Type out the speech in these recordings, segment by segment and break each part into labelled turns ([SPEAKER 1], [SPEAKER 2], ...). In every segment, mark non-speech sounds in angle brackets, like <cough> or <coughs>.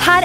[SPEAKER 1] her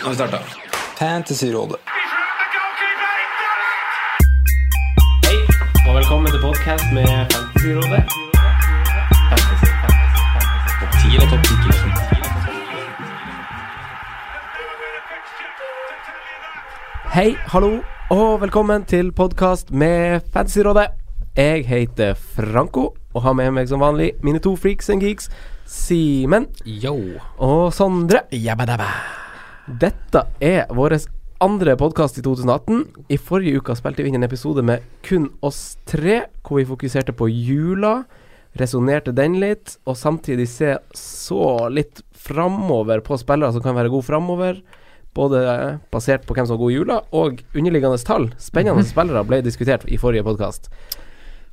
[SPEAKER 2] Nå har vi starta. Fantasyrådet.
[SPEAKER 3] Hei, og velkommen til podcast med Fantasyrådet. Topp 10 eller topp 10 Hei, hallo, og velkommen til podcast med Fantasyrådet. Jeg heter Franco, og har med meg som vanlig mine to freaks and geeks, Simen og Sondre. Dette er vår andre podkast i 2018. I forrige uke spilte vi inn en episode med kun oss tre, hvor vi fokuserte på jula. Resonnerte den litt, og samtidig se så litt framover på spillere som kan være gode framover. Både basert på hvem som har god i jula, og underliggende tall. Spennende spillere ble diskutert i forrige podkast.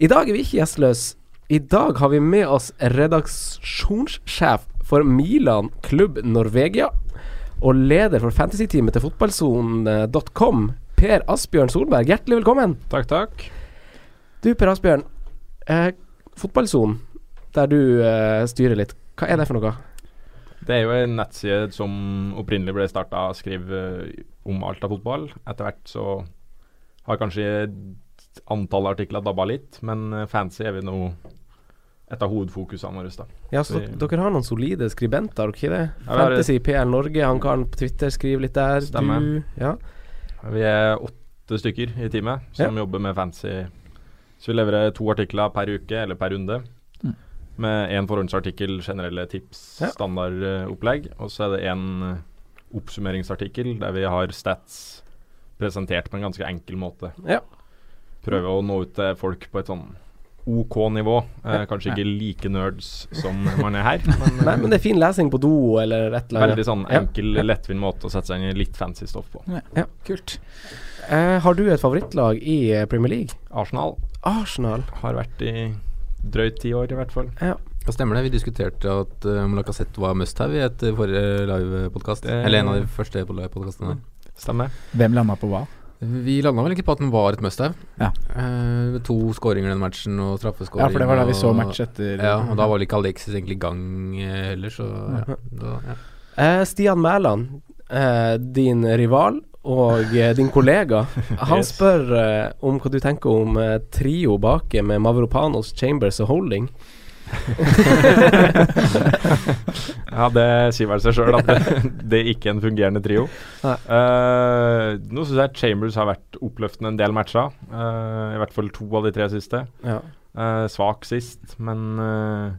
[SPEAKER 3] I dag er vi ikke gjestløse. I dag har vi med oss redaksjonssjef for Milan klubb Norvegia, og leder for fantasyteamet til fotballsonen.com, Per Asbjørn Solberg. Hjertelig velkommen.
[SPEAKER 4] Takk, takk.
[SPEAKER 3] Du, Per Asbjørn. Eh, Fotballsonen, der du eh, styrer litt, hva er det for noe?
[SPEAKER 5] Det er jo en nettside som opprinnelig ble starta av skriv eh, om alt av fotball. Etter hvert så har kanskje antallet artikler dabba litt, men eh, fancy er vi nå et av hovedfokusene våre. da.
[SPEAKER 3] Ja, så dere- Dere har noen solide skribenter, har dere ikke det?
[SPEAKER 5] Ja, vi har-
[SPEAKER 3] Fantasy PL Norge, han karen på Twitter skriver litt der.
[SPEAKER 5] Stemmer.
[SPEAKER 3] Du, ja.
[SPEAKER 5] Vi er åtte stykker i teamet som jobber med fancy. Så vi leverer to artikler per uke eller per runde. Med én forhåndsartikkel, generelle tips,
[SPEAKER 3] Mm. Ja.
[SPEAKER 5] standardopplegg. Og så er det én oppsummeringsartikkel der vi har stats presentert på en ganske enkel måte.
[SPEAKER 3] Ja.
[SPEAKER 5] Prøve å nå ut til folk på et sånn OK nivå. Eh, kanskje ikke like nerds som man er her, men
[SPEAKER 3] <laughs> Nei, men det er fin lesing på do eller et eller annet.
[SPEAKER 5] veldig sånn
[SPEAKER 3] Ja.
[SPEAKER 5] enkel, lettvint måte å sette seg inn i litt fancy stoff på.
[SPEAKER 3] Kult. Eh, har du et favorittlag i eh, Premier League?
[SPEAKER 5] Arsenal
[SPEAKER 3] Arsenal.
[SPEAKER 5] har vært i drøyt ti år, i hvert fall.
[SPEAKER 2] Ja, stemmer det. Vi diskuterte at eh, om Lacassette var must have i et eh, forrige livepodkast.
[SPEAKER 5] Det-
[SPEAKER 2] Eller en av de første livepodkastene.
[SPEAKER 5] Stemmer.
[SPEAKER 3] <laughs>
[SPEAKER 6] Hvem landa på hva?
[SPEAKER 2] Eh, Vi landa vel ikke på at den var et must have.
[SPEAKER 6] Ja.
[SPEAKER 2] Eh, med to skåringer den matchen, og straffeskåring.
[SPEAKER 6] Ja, for det var da vi så
[SPEAKER 2] og-
[SPEAKER 6] match etter
[SPEAKER 2] Ja, og da var vel ikke Alexis egentlig i gang eh, heller, så ja. Da, ja.
[SPEAKER 3] Eh, Stian Mæland, eh, din rival og eh, din kollega, han
[SPEAKER 5] Yes.
[SPEAKER 3] spør eh, om hva du tenker om eh, trio bake med Mavropanos, Chambers og Holding.
[SPEAKER 5] Ja, det sier vel seg sjøl at det, det er ikke en fungerende trio.
[SPEAKER 3] Nei.
[SPEAKER 5] Eh, nå syns jeg Chambers har vært oppløftende en del matcher. eh, I hvert fall to av de tre siste.
[SPEAKER 3] Ja.
[SPEAKER 5] Eh, svak sist, men eh,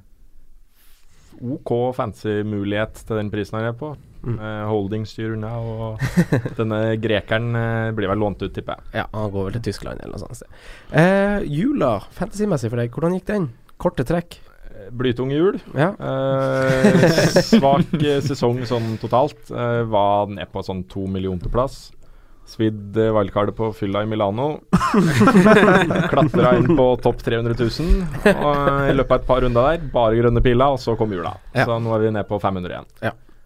[SPEAKER 5] OK fancy mulighet til den prisen han er på.
[SPEAKER 3] Mm.
[SPEAKER 5] Eh, holding styrer unna, og denne grekeren eh, blir vel lånt ut, tipper jeg.
[SPEAKER 3] ja, han går vel til Tyskland eller noe sånt. sted. Eh, jula, fantasymessig for deg, hvordan gikk den? Korte trekk.
[SPEAKER 5] Eh, Blytung jul.
[SPEAKER 3] Ja.
[SPEAKER 5] Eh, svak eh, sesong sånn totalt. Eh, var ned på sånn to millionterplass. Svidd eh, wildcardet på fylla
[SPEAKER 2] <laughs>
[SPEAKER 5] i Milano. Klatra inn på topp 300 000. Og eh, I løpet av et par runder der, bare grønne piler, og så kom jula.
[SPEAKER 3] Ja.
[SPEAKER 5] Så nå er vi ned på 500 igjen.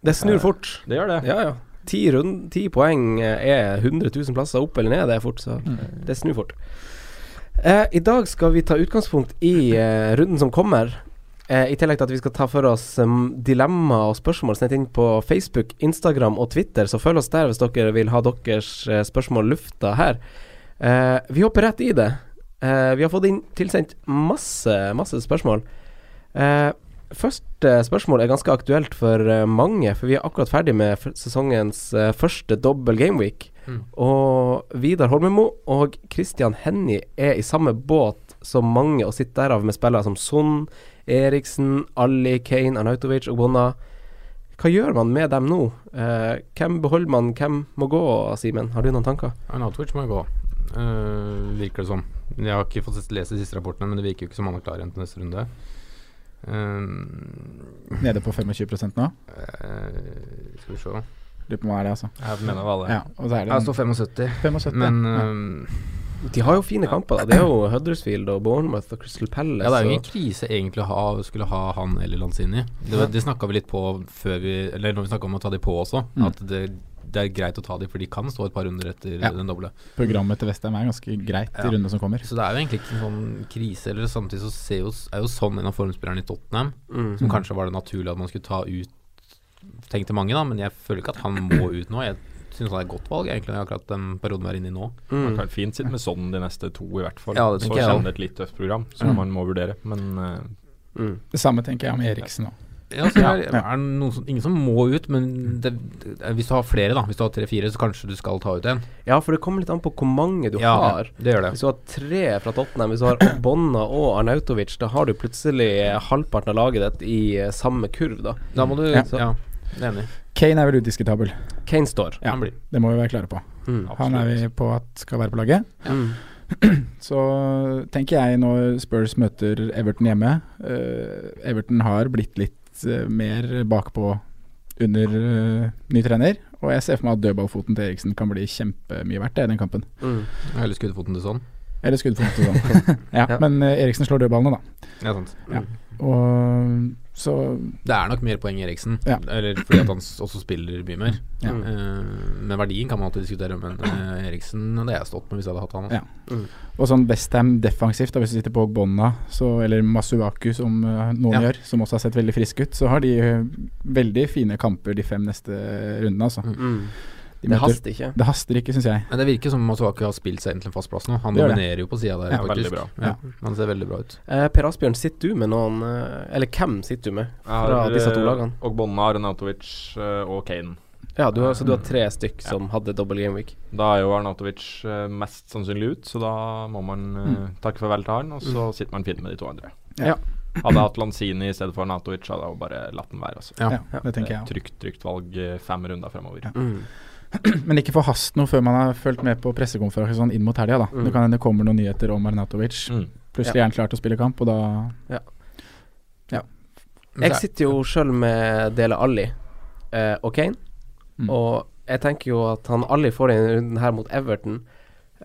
[SPEAKER 3] Det snur fort.
[SPEAKER 5] Det gjør det.
[SPEAKER 3] Ja, ja. Ti, rund, ti poeng eh, er 100 000 plasser opp eller ned, det er fort, så det snur fort. Eh, I dag skal vi ta utgangspunkt i eh, runden som kommer. Eh, I tillegg til at vi skal ta for oss um, dilemma og spørsmål sendt inn på Facebook, Instagram og Twitter, så følg oss der hvis dere vil ha deres eh, spørsmål lufta her. Eh, vi hopper rett i det. Eh, vi har fått inn tilsendt masse, masse spørsmål. Eh, Første spørsmål er ganske aktuelt for eh, mange, for vi er akkurat ferdig med f- sesongens eh, første dobbel gameweek.
[SPEAKER 2] Mm.
[SPEAKER 3] Og Vidar Holmemo og Christian Hennie er i samme båt som mange, og sitter derav med spillere som Son, Eriksen, Ali, Kane, Arnautovic og Bonna. Hva gjør man med dem nå? Eh, hvem beholder man, hvem må gå, Simen? Har du noen tanker?
[SPEAKER 2] Arnautovic må jo gå, eh, virker det som. Jeg har ikke fått sist- lest de siste rapportene, men det virker jo ikke som han er klar igjen til neste runde. Eh,
[SPEAKER 6] Nede på 25 nå.
[SPEAKER 2] eh, skal vi se
[SPEAKER 6] Lurer på hva er det, altså.
[SPEAKER 2] Jeg mener hva det er.
[SPEAKER 6] Ja, og så er det
[SPEAKER 2] Jeg står 75,
[SPEAKER 6] 75.
[SPEAKER 2] men
[SPEAKER 6] ja.
[SPEAKER 2] eh,
[SPEAKER 3] De har jo fine kamper, da. Det er jo Huddersfield og Bournemouth og Crystal Palace.
[SPEAKER 2] Ja, det er jo
[SPEAKER 3] og-
[SPEAKER 2] ingen krise egentlig å ha, skulle ha han eller Lanzini. Det, var- det snakka vi litt på før vi Eller når vi snakka om å ta de på også,
[SPEAKER 6] Mm.
[SPEAKER 2] at det, det er greit å ta de, for de kan stå et par runder etter
[SPEAKER 6] Ja.
[SPEAKER 2] den doble.
[SPEAKER 6] Programmet til Vestheim er ganske greit
[SPEAKER 2] Ja.
[SPEAKER 6] i rundene som kommer.
[SPEAKER 2] Så det er jo egentlig ikke en sånn krise. Eller samtidig så ser jo, er jo sånn en av formspillerne i Tottenham,
[SPEAKER 3] Mm.
[SPEAKER 2] som kanskje var det naturlig at man skulle ta ut, tenkte mange, da, men jeg føler ikke at han må ut nå. Jeg syns han er et godt valg, egentlig, akkurat den perioden vi er inne i nå.
[SPEAKER 5] Man
[SPEAKER 3] Mm.
[SPEAKER 5] kan fint sitte med sånn de neste to, i hvert fall.
[SPEAKER 2] Ja, det
[SPEAKER 5] så
[SPEAKER 2] tenker jeg også.
[SPEAKER 5] kjenner det et litt tøft program, som
[SPEAKER 6] Mm.
[SPEAKER 5] man må vurdere. Men eh,
[SPEAKER 3] Mm.
[SPEAKER 6] Det samme tenker jeg om Eriksen òg.
[SPEAKER 2] Ja, så
[SPEAKER 6] Ja.
[SPEAKER 2] er, er det noen som, ingen som må ut, men det, det, hvis du har flere, da, hvis du har tre-fire, så kanskje du skal ta ut en.
[SPEAKER 3] Ja, for det kommer litt an på hvor mange du har.
[SPEAKER 2] det gjør det.
[SPEAKER 3] Hvis du har tre fra Tottenham, hvis du har Bonna og Arnautovic, da har du plutselig halvparten av laget ditt i eh, samme kurv, da.
[SPEAKER 2] Da må du
[SPEAKER 6] Ja.
[SPEAKER 2] Ja, ja det er enig.
[SPEAKER 6] Kane er vel udiskutabel.
[SPEAKER 3] Kane står.
[SPEAKER 6] Ja,
[SPEAKER 2] Han blir.
[SPEAKER 6] det må vi være klare på.
[SPEAKER 3] Mm.
[SPEAKER 6] Han er vi på at skal være på laget.
[SPEAKER 3] Mm.
[SPEAKER 6] Så tenker jeg når Spurs møter Everton hjemme eh, Everton har blitt litt eh, mer bakpå under eh, ny trener, og jeg ser for meg at dødballfoten til Eriksen kan bli kjempemye verdt det i den kampen.
[SPEAKER 3] Mm.
[SPEAKER 2] Eller skuddfoten til sånn.
[SPEAKER 6] Eller skuddfot og sånn. <laughs> ja,
[SPEAKER 3] Ja.
[SPEAKER 6] Men eh, Eriksen slår dødballene, da.
[SPEAKER 2] Ja, sant.
[SPEAKER 6] Og så
[SPEAKER 2] Det er nok mer poeng i Eriksen,
[SPEAKER 6] Ja.
[SPEAKER 2] eller fordi at han s- også spiller mye mer.
[SPEAKER 6] Ja.
[SPEAKER 2] Eh, men verdien kan man alltid diskutere, men eh, Eriksen det hadde jeg stått med hvis jeg hadde hatt han.
[SPEAKER 6] Ja. Og sånn Westham defensivt, da, hvis du sitter på Bonna, så, eller Masuaku, som eh, noen
[SPEAKER 2] Ja.
[SPEAKER 6] gjør, som også har sett veldig frisk ut, så har de eh, veldig fine kamper de fem neste rundene, altså.
[SPEAKER 3] Mm.
[SPEAKER 6] De
[SPEAKER 3] Det
[SPEAKER 6] møter-
[SPEAKER 3] haster ikke.
[SPEAKER 6] det haster ikke, syns jeg.
[SPEAKER 2] Men det virker som Masuaki har spilt seg inn til en fast plass nå. Han
[SPEAKER 6] Det gjør det.
[SPEAKER 2] dominerer jo på sida der,
[SPEAKER 6] Ja,
[SPEAKER 2] faktisk.
[SPEAKER 5] veldig bra.
[SPEAKER 2] Ja. Han ser veldig bra ut.
[SPEAKER 3] Eh, per Asbjørn, sitter du med noen eh, Eller hvem sitter du med fra
[SPEAKER 5] er,
[SPEAKER 3] disse to
[SPEAKER 5] eh,
[SPEAKER 3] lagene?
[SPEAKER 5] Og Bonna, Arnautovic eh, og Kane.
[SPEAKER 3] Ja, du har, så du har tre stykk som hadde double game week.
[SPEAKER 5] Da er jo Arnautovic eh, mest sannsynlig ut, så da må man eh,
[SPEAKER 6] Mm.
[SPEAKER 5] takke farvel til han, og så sitter man fint med de to andre.
[SPEAKER 6] Ja.
[SPEAKER 5] Hadde jeg hatt Lanzini i stedet for Arnautovic, hadde jeg jo bare latt den være. Altså.
[SPEAKER 2] Ja.
[SPEAKER 6] Ja, det tenker jeg også.
[SPEAKER 5] Trygt, trygt valg eh, fem runder fremover.
[SPEAKER 3] Mm.
[SPEAKER 6] Men ikke forhast noe før man har fulgt med på pressekonferanse sånn inn mot helga, da.
[SPEAKER 3] Mm.
[SPEAKER 6] Det kan hende det kommer noen nyheter om Arnatovic.
[SPEAKER 5] Mm.
[SPEAKER 6] Plutselig er han klar til å spille kamp, og da
[SPEAKER 2] Men
[SPEAKER 3] Jeg
[SPEAKER 2] så er-
[SPEAKER 3] sitter jo sjøl med Dele Alli eh, og Kane,
[SPEAKER 6] Mm.
[SPEAKER 3] og jeg tenker jo at han Alli får den runden her mot Everton.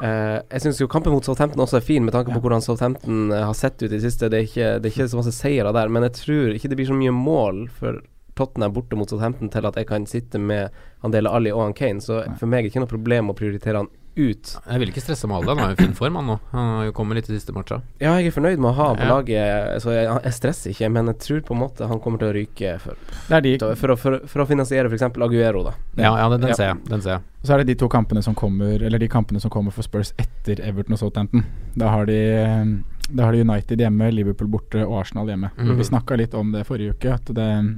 [SPEAKER 3] Eh, jeg syns jo kampen mot Southampton også er fin, med tanke på
[SPEAKER 6] Ja.
[SPEAKER 3] hvordan Southampton eh, har sett ut i det siste. Det er, ikke, det er ikke så masse seire der, men jeg tror ikke det blir så mye mål for Tottenham borte mot Southampton til at jeg kan sitte med han Dele Alli og han Kane, så for meg er det ikke noe problem å prioritere han ut.
[SPEAKER 2] Jeg vil ikke stresse med alle, han er jo i fin form han nå. Han kommer litt i siste matcha.
[SPEAKER 3] Ja, jeg er fornøyd med å ha han på
[SPEAKER 2] Ja.
[SPEAKER 3] laget, så jeg, jeg stresser ikke, men jeg tror på en måte han kommer til å ryke for,
[SPEAKER 6] Det er de.
[SPEAKER 3] for, å, for, for å finansiere f.eks. Aguero, da.
[SPEAKER 2] Ja, ja, den, den
[SPEAKER 3] Ja.
[SPEAKER 2] ser jeg. Den ser jeg.
[SPEAKER 6] Så er det de to kampene som kommer Eller de kampene som kommer for Spurs etter Everton og Southampton. Da har de Da har de United hjemme, Liverpool borte og Arsenal hjemme.
[SPEAKER 2] Mhm.
[SPEAKER 6] Vi snakka litt om det forrige uke, at det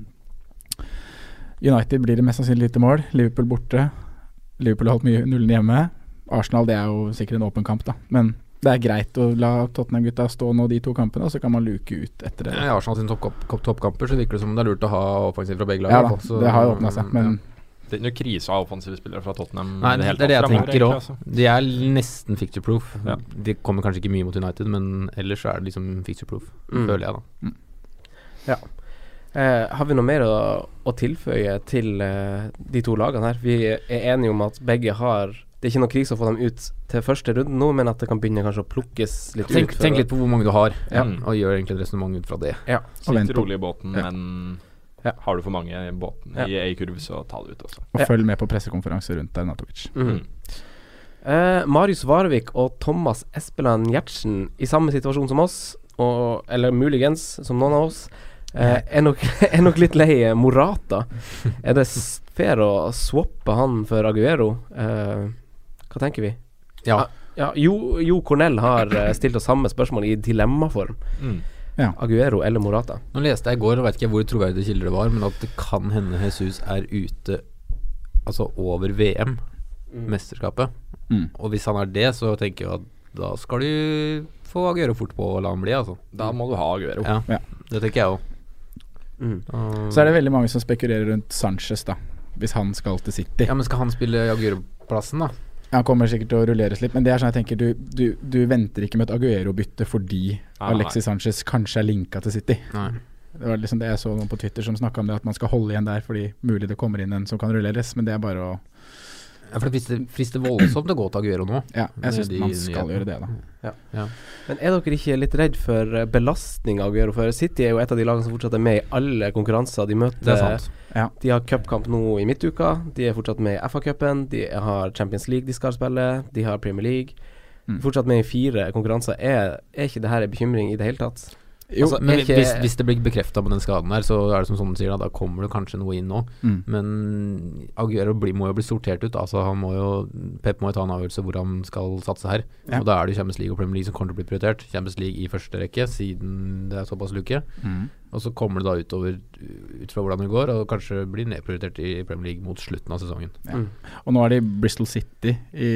[SPEAKER 6] United blir det mest sannsynlig lite mål. Liverpool borte. Liverpool har holdt mye nullen hjemme. Arsenal det er jo sikkert en åpen kamp, da. Men det er greit å la Tottenham-gutta stå nå de to kampene, og så kan man luke ut etter det.
[SPEAKER 2] I Arsenal sine toppkamp- topp- toppkamper så virker det som det er lurt å ha offensiv fra begge lag.
[SPEAKER 6] Ja
[SPEAKER 2] i
[SPEAKER 6] da,
[SPEAKER 2] hvert fall. Så,
[SPEAKER 6] det har jo åpna seg,
[SPEAKER 2] mm, ja.
[SPEAKER 6] men
[SPEAKER 5] Det er ikke noe krise av offensive spillere fra Tottenham. i
[SPEAKER 2] Nei, det,
[SPEAKER 5] hele
[SPEAKER 2] er det jeg
[SPEAKER 5] tatt fremover,
[SPEAKER 2] tenker
[SPEAKER 5] egentlig,
[SPEAKER 2] òg. De er nesten picture proof.
[SPEAKER 5] Ja.
[SPEAKER 2] De kommer kanskje ikke mye mot United, men ellers så er det liksom picture proof,
[SPEAKER 3] Mm.
[SPEAKER 2] føler jeg, da.
[SPEAKER 3] Eh, har vi noe mer å, å tilføye til eh, de to lagene her? Vi er enige om at begge har Det er ikke noe krise å få dem ut til første runde nå, men at det kan begynne kanskje å plukkes litt
[SPEAKER 2] Tenk,
[SPEAKER 3] ut. for
[SPEAKER 2] tenk
[SPEAKER 3] å-
[SPEAKER 2] litt på hvor mange du har,
[SPEAKER 5] Ja.
[SPEAKER 2] og gjør egentlig et resonnement ut fra det.
[SPEAKER 6] og vent
[SPEAKER 5] Sitt
[SPEAKER 6] på,
[SPEAKER 5] rolig i båten, men
[SPEAKER 3] Ja.
[SPEAKER 5] har du for mange i båten
[SPEAKER 3] Ja.
[SPEAKER 5] i ei kurv, så ta det ut også.
[SPEAKER 6] og følg med på pressekonferanse rundt Arnatovic.
[SPEAKER 3] Mm. Eh, Marius Varvik og Thomas Espeland Gjertsen i samme situasjon som oss, og, eller muligens som noen av oss, eh, er, nok, <laughs> er nok litt lei eh, Morata. Er det s- fair å swappe han for Aguero? Eh, hva tenker vi?
[SPEAKER 2] Ja.
[SPEAKER 3] Ah, Ja, jo, jo Cornell har eh, stilt oss samme spørsmål i dilemmaform.
[SPEAKER 5] Mm.
[SPEAKER 6] Ja.
[SPEAKER 3] Aguero eller Morata?
[SPEAKER 2] Nå leste jeg i går, og veit ikke hvor troverdige kilder det var, men at det kan hende Jesus er ute Altså over VM. mesterskapet.
[SPEAKER 6] Mm.
[SPEAKER 2] Og hvis han er det, så tenker jeg at da skal du få Aguero fort på og la han bli, altså.
[SPEAKER 5] Da må du ha Aguero.
[SPEAKER 2] Ja,
[SPEAKER 6] Ja.
[SPEAKER 2] Det tenker jeg òg.
[SPEAKER 6] Så er det veldig mange som spekulerer rundt Sanchez, da. Hvis han skal til City.
[SPEAKER 2] Ja, men skal han spille Aguero-plassen, da?
[SPEAKER 6] Han kommer sikkert til å rulleres litt, men det er sånn jeg tenker du, du, du venter ikke med et Aguero-bytte fordi
[SPEAKER 2] nei.
[SPEAKER 6] Alexis Sanchez kanskje er linka til City.
[SPEAKER 2] Nei.
[SPEAKER 6] Det var liksom det jeg så noen på Twitter som snakka om det, at man skal holde igjen der fordi mulig det kommer inn en som kan rulleres, men det er bare å
[SPEAKER 2] Ja, for det frister, frister voldsomt å gå til Aguero nå.
[SPEAKER 6] Ja, jeg synes
[SPEAKER 2] Med de
[SPEAKER 6] man skal gjøre det, da.
[SPEAKER 3] Ja.
[SPEAKER 2] Ja.
[SPEAKER 3] Men er dere ikke litt redd for eh, belastning av Aguero før? City er jo et av de lagene som fortsatt er med i alle konkurranser. De
[SPEAKER 2] Det er
[SPEAKER 3] møter
[SPEAKER 2] sant.
[SPEAKER 6] Ja.
[SPEAKER 3] De har cupkamp nå i midtuka. De er fortsatt med i FA-cupen. De har Champions League de skal spille. De har Premier League.
[SPEAKER 6] Mm.
[SPEAKER 3] Fortsatt med i fire konkurranser. Er, er ikke det her en bekymring i det hele tatt?
[SPEAKER 6] Jo,
[SPEAKER 3] Altså,
[SPEAKER 2] Men
[SPEAKER 3] er ikke-
[SPEAKER 2] hvis, hvis det blir bekrefta med den skaden der, så er det som sånn sier, da, da kommer det kanskje noe inn nå.
[SPEAKER 6] Mm.
[SPEAKER 2] Men Aguero blir, må jo bli sortert ut. Altså han må jo Pep må jo ta en avgjørelse hvor han skal satse her.
[SPEAKER 6] Ja.
[SPEAKER 2] Og da er det jo Champions League og Premier League som kommer til å bli prioritert. Champions League i første rekke, siden det er såpass luke.
[SPEAKER 6] Mm.
[SPEAKER 2] Og så kommer det da utover ut fra hvordan det går, og kanskje blir nedprioritert i Premier League mot slutten av sesongen.
[SPEAKER 6] Mm. Og nå er det Bristol City i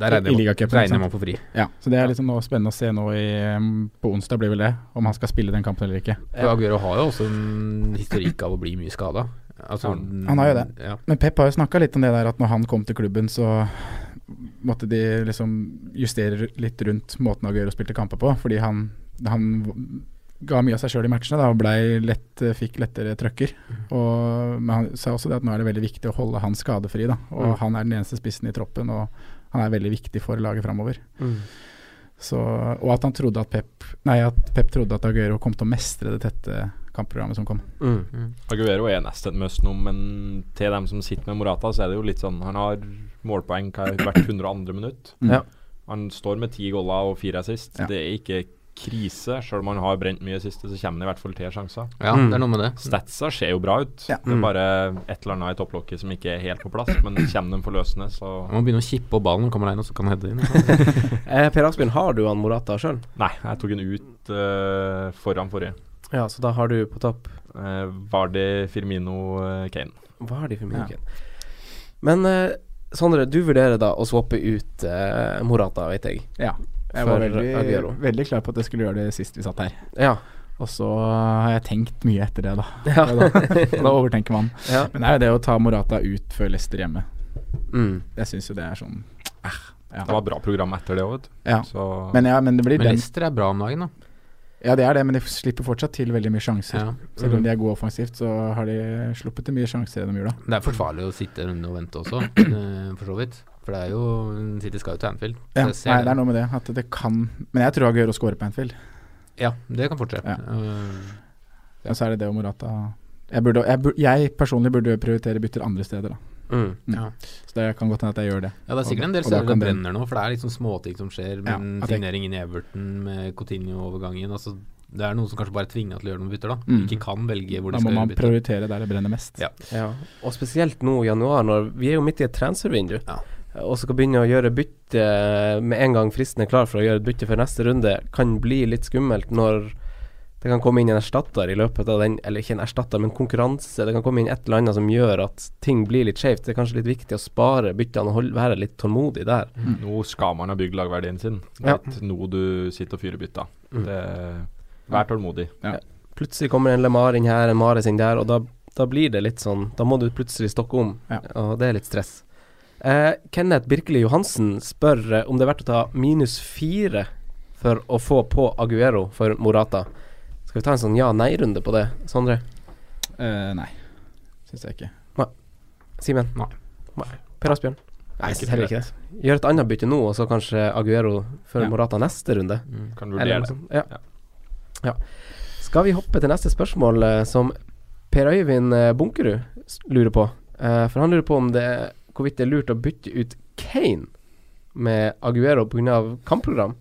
[SPEAKER 2] Der regner
[SPEAKER 6] i
[SPEAKER 2] jeg
[SPEAKER 6] ligacupen,
[SPEAKER 2] med- regner
[SPEAKER 6] ikke
[SPEAKER 2] jeg
[SPEAKER 6] sant?
[SPEAKER 2] med å få fri.
[SPEAKER 6] Ja, så det er liksom nå spennende å se nå i, um, på onsdag blir vel det, om han skal spille den kampen eller ikke.
[SPEAKER 2] For Aguero har jo også en historikk av å bli mye skada. Altså,
[SPEAKER 6] Han har jo det.
[SPEAKER 2] Ja.
[SPEAKER 6] Men Pep har jo snakka litt om det der at når han kom til klubben, så måtte de liksom justere litt rundt måten Aguero spilte kamper på, fordi han, han ga mye av seg sjøl i matchene da, og blei lett, eh, fikk lettere trøkker. Og, men han sa også det at nå er det veldig viktig å holde han skadefri, da. Og
[SPEAKER 3] Mm.
[SPEAKER 6] han er den eneste spissen i troppen, og han er veldig viktig for laget framover. Så, og at han trodde at Pep Nei, at Pep trodde at Aguero kom til å mestre det tette kampprogrammet som kom.
[SPEAKER 3] Mm.
[SPEAKER 5] Aguero er nesten en must nå, men til dem som sitter med Morata, så er det jo litt sånn Han har målpoeng hva- hvert 102. minutt.
[SPEAKER 3] Ja.
[SPEAKER 5] Han står med ti goller og fire assist.
[SPEAKER 6] Mm. Ja.
[SPEAKER 5] Det er ikke krise. Selv om han har brent mye siste, så kommer han i hvert fall til sjanser. Mm.
[SPEAKER 2] ja, det er noe med det. Mm.
[SPEAKER 5] Statsa ser jo bra ut.
[SPEAKER 6] Ja.
[SPEAKER 5] Det er bare et eller annet i topplokket som ikke er helt på plass. Men kommer de forløsende, så
[SPEAKER 2] Man må begynne å kippe opp ballen, kommer han inn, og så kan han
[SPEAKER 3] <laughs>
[SPEAKER 2] heade inn.
[SPEAKER 3] Eh, per Asbjørn, har du han Morata sjøl?
[SPEAKER 5] Nei, jeg tok den ut eh, foran forrige.
[SPEAKER 3] Ja, så da har du på topp
[SPEAKER 5] Eh, var det Firmino eh, Kane?
[SPEAKER 3] Hva har de for mye?
[SPEAKER 6] Ja.
[SPEAKER 3] Ken? Men eh, Sondre, du vurderer da å swappe ut eh, Morata, vet jeg.
[SPEAKER 6] Ja. Jeg
[SPEAKER 3] For
[SPEAKER 6] var veldig,
[SPEAKER 3] Aguero.
[SPEAKER 6] veldig klar på at jeg skulle gjøre det sist vi satt her.
[SPEAKER 3] Ja.
[SPEAKER 6] Og så har jeg tenkt mye etter det, da.
[SPEAKER 3] Ja.
[SPEAKER 6] <laughs> da, da overtenker man.
[SPEAKER 3] Ja.
[SPEAKER 6] Men det er jo det å ta Morata ut før Lester hjemme.
[SPEAKER 3] Mm.
[SPEAKER 6] Jeg syns jo det er sånn eh,
[SPEAKER 5] Det var bra program etter det òg,
[SPEAKER 6] ja.
[SPEAKER 5] så
[SPEAKER 6] Men, ja, men det blir
[SPEAKER 2] Men
[SPEAKER 6] den.
[SPEAKER 2] Leicester er bra om dagen, da.
[SPEAKER 6] Ja, det er det, men de slipper fortsatt til veldig mye sjanser.
[SPEAKER 2] Ja. Mm.
[SPEAKER 6] Selv om de er gode offensivt, så har de sluppet til mye sjanser gjennom jula.
[SPEAKER 2] Det er forsvarlig å sitte en runde og vente også, <clears throat> eh, for så vidt. For det er jo City skal jo til Anfield. Så
[SPEAKER 6] Ja,
[SPEAKER 2] jeg ser
[SPEAKER 6] nei, det er noe med det. At det kan Men jeg tror Aguero scorer på Anfield.
[SPEAKER 2] Ja, det kan fortsette.
[SPEAKER 6] Ja.
[SPEAKER 2] Eh,
[SPEAKER 6] Og så er det det og Morata jeg, burde, jeg, bur- jeg personlig burde prioritere bytter andre steder, da.
[SPEAKER 3] Mm.
[SPEAKER 2] Ja.
[SPEAKER 6] Så det kan godt hende at jeg gjør det.
[SPEAKER 2] ja, det er sikkert en del
[SPEAKER 6] Og da
[SPEAKER 2] steder det
[SPEAKER 6] kan det-
[SPEAKER 2] brenner nå, for det er liksom småting som skjer.
[SPEAKER 6] Ja,
[SPEAKER 2] Med
[SPEAKER 6] at jeg-
[SPEAKER 2] signering inn i Everton, med Coutinho-overgangen. Altså, det er noen som kanskje bare er tvinga til å gjøre noen bytter, da.
[SPEAKER 6] Mm.
[SPEAKER 2] Ikke kan velge hvor de
[SPEAKER 6] Da må
[SPEAKER 2] skal
[SPEAKER 6] man
[SPEAKER 2] gjøre bytter.
[SPEAKER 6] prioritere der det brenner mest.
[SPEAKER 2] Ja.
[SPEAKER 3] Ja, og spesielt nå i januar, når vi er jo midt i et transfervindu,
[SPEAKER 2] Ja.
[SPEAKER 3] og skal begynne å gjøre bytte med en gang fristen er klar for å gjøre et bytte for neste runde, kan bli litt skummelt når det kan komme inn en erstatter i løpet av den, eller ikke en erstatter, men konkurranse. Det kan komme inn et eller annet som gjør at ting blir litt skjevt. Det er kanskje litt viktig å spare byttene og holde, være litt tålmodig der.
[SPEAKER 5] nå skal man ha bygd lagverdien sin. Det
[SPEAKER 3] Ja. Mm.
[SPEAKER 5] er ikke nå du sitter og fyrer bytta. Det, vær tålmodig.
[SPEAKER 3] Plutselig kommer en Lemar inn her, en Mares inn der, og da, da blir det litt sånn Da må du plutselig stokke om,
[SPEAKER 6] Ja.
[SPEAKER 3] og det er litt stress. Eh, Kenneth Birkeli Johansen spør eh, om det er verdt å ta minus fire for å få på Aguero for Morata. Skal vi ta en sånn ja-nei-runde på det, Sondre?
[SPEAKER 6] Eh, nei, syns jeg ikke.
[SPEAKER 3] Simen?
[SPEAKER 2] Nei.
[SPEAKER 3] Nei. Per Asbjørn?
[SPEAKER 2] Nei,
[SPEAKER 3] synes heller ikke det. Gjør et annet bytte nå, og så kanskje Aguero for
[SPEAKER 6] Ja.
[SPEAKER 3] Morata neste runde.
[SPEAKER 5] Kan
[SPEAKER 3] Mm. Eller noe
[SPEAKER 5] vurdere det.
[SPEAKER 3] sånt. Ja. ja. Skal vi hoppe til neste spørsmål, eh, som Per Øyvind eh, Bunkerud s- lurer på? Eh, For han lurer på om det er, hvorvidt det er lurt å bytte ut Kane med Aguero pga. kampprogram.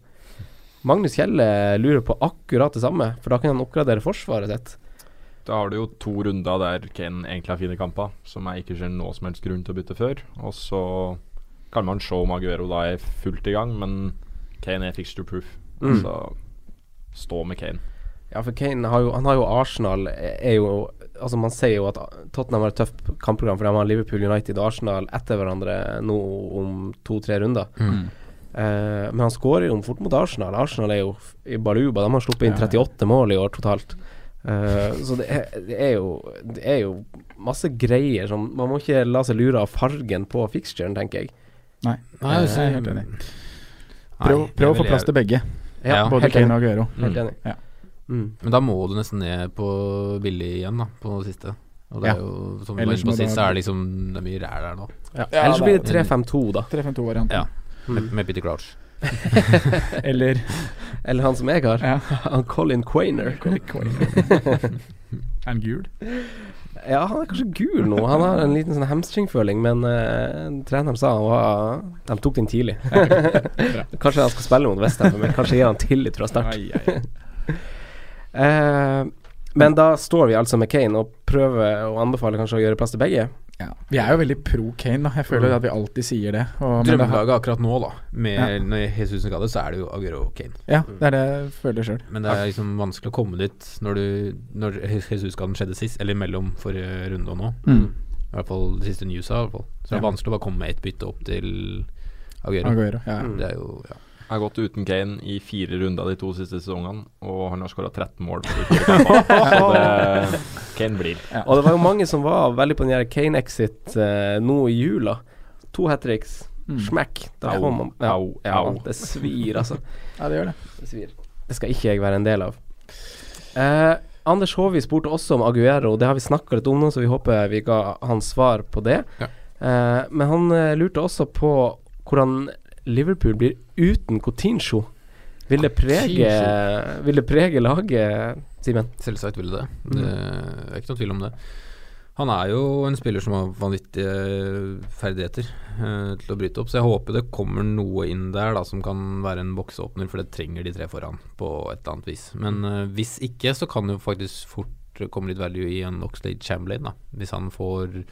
[SPEAKER 3] Magnus Kjelle eh, lurer på akkurat det samme, for da kan han oppgradere forsvaret sitt.
[SPEAKER 5] Da har du jo to runder der Kane egentlig har fine kamper, som jeg ikke ser noe som helst grunn til å bytte før. Og så kan man se om Aguero da er fullt i gang, men Kane er fixture proof.
[SPEAKER 3] Mm.
[SPEAKER 5] Så stå med Kane.
[SPEAKER 3] Ja, for Kane har jo, han har jo Arsenal eh, er jo Altså Man ser jo at Tottenham har et tøft kampprogram, for de har Liverpool, United og Arsenal etter hverandre nå om to-tre runder.
[SPEAKER 6] Mm.
[SPEAKER 3] Eh, men han skårer jo fort mot Arsenal. Arsenal er jo f- i baluba. De har sluppet inn
[SPEAKER 6] Ja, ja.
[SPEAKER 3] 38 mål i år totalt. Eh, så det er, det, er jo, det er jo masse greier som Man må ikke la seg lure av fargen på fixturen, tenker jeg.
[SPEAKER 6] Nei,
[SPEAKER 2] Nei,
[SPEAKER 6] jeg
[SPEAKER 2] så-
[SPEAKER 6] er helt enig. Prøv,
[SPEAKER 2] Nei,
[SPEAKER 6] prøv å
[SPEAKER 2] jeg
[SPEAKER 6] få
[SPEAKER 2] vil-
[SPEAKER 6] plass til begge.
[SPEAKER 2] Ja, Mm.
[SPEAKER 6] Både
[SPEAKER 3] helt
[SPEAKER 6] Kane
[SPEAKER 3] enig.
[SPEAKER 6] og Aguero.
[SPEAKER 3] Helt enig.
[SPEAKER 6] Ja.
[SPEAKER 3] Mm.
[SPEAKER 2] Men da må du nesten ned på billig igjen, da, på det siste. Og det
[SPEAKER 6] Ja.
[SPEAKER 2] er jo, som du var
[SPEAKER 6] Ellers
[SPEAKER 2] inne på
[SPEAKER 6] må
[SPEAKER 2] sist,
[SPEAKER 6] da-
[SPEAKER 2] så er det liksom Det er mye ræl der nå.
[SPEAKER 3] Ja.
[SPEAKER 6] Ja,
[SPEAKER 3] Ellers
[SPEAKER 6] det
[SPEAKER 3] blir
[SPEAKER 6] er-
[SPEAKER 3] det 3-5-2, da.
[SPEAKER 6] 3-5-2-varianten.
[SPEAKER 2] Ja. Med, med Peter Crouch.
[SPEAKER 6] <laughs>
[SPEAKER 2] <laughs>
[SPEAKER 6] Eller
[SPEAKER 3] Eller han som jeg har.
[SPEAKER 6] ja.
[SPEAKER 3] Han Colin Quainer.
[SPEAKER 6] <laughs> Er den gul?
[SPEAKER 3] Ja, han er kanskje gul nå. Han har en liten sånn hamstringføling, men eh, treneren sa han var De tok den tidlig. kanskje han skal spille mot Westham, men kanskje gir han tillit fra start.
[SPEAKER 6] Ai, ai, ai.
[SPEAKER 3] Eh, men da står vi altså med Kane og prøver å anbefale kanskje å gjøre plass til begge.
[SPEAKER 6] Ja. Vi er jo veldig pro Kane, da. Jeg føler at vi alltid sier det. Og, men det, har-
[SPEAKER 2] Mm. Drømmelaget akkurat nå, da, med
[SPEAKER 6] Ja.
[SPEAKER 2] når Jesus er skadet, så er det jo Aguero og Kane. Mm.
[SPEAKER 6] ja, det er det jeg føler sjøl.
[SPEAKER 2] Men det er liksom vanskelig å komme dit når, du, når Jesus-skaden skjedde sist, eller mellom forrige runde og nå.
[SPEAKER 6] Mm.
[SPEAKER 2] I hvert fall det siste newsa. i hvert fall. Så det er
[SPEAKER 6] Ja.
[SPEAKER 2] vanskelig å bare komme med ett bytte opp til Aguero. Mm.
[SPEAKER 6] Aguero. Ja.
[SPEAKER 2] Det er jo ja.
[SPEAKER 5] har gått uten Kane i fire runder de to siste sesongene, og han har skåra 13 mål. På de fire
[SPEAKER 3] <laughs>
[SPEAKER 5] kampene. Så det, Kane blir.
[SPEAKER 3] Og det var jo mange som var veldig på den der Kane-exit eh, nå i jula. To hat tricks.
[SPEAKER 6] Mm.
[SPEAKER 3] Smack. Da
[SPEAKER 5] Mm. Au,
[SPEAKER 3] får man ja,
[SPEAKER 5] au,
[SPEAKER 3] ja,
[SPEAKER 5] au.
[SPEAKER 3] Det svir, altså.
[SPEAKER 6] ja, det gjør det.
[SPEAKER 3] Det svir. Det skal ikke jeg være en del av. Eh, Anders Håvi spurte også om Aguero. Det har vi snakka litt om nå, så vi håper vi ga hans svar på det.
[SPEAKER 2] Ja.
[SPEAKER 3] Eh, men han eh, lurte også på hvordan Liverpool blir uten Coutinho. Vil det prege, vil det prege laget, Simen?
[SPEAKER 2] Selvsagt ville det. Det er ikke noe tvil om det. Han er jo en spiller som har vanvittige ferdigheter eh, til å bryte opp, så jeg håper det kommer noe inn der da som kan være en bokseåpner, for det trenger de tre foran på et eller annet vis. Men eh, hvis ikke, så kan det jo faktisk fort komme litt value i en Oxlade Chamberlain, da, hvis han får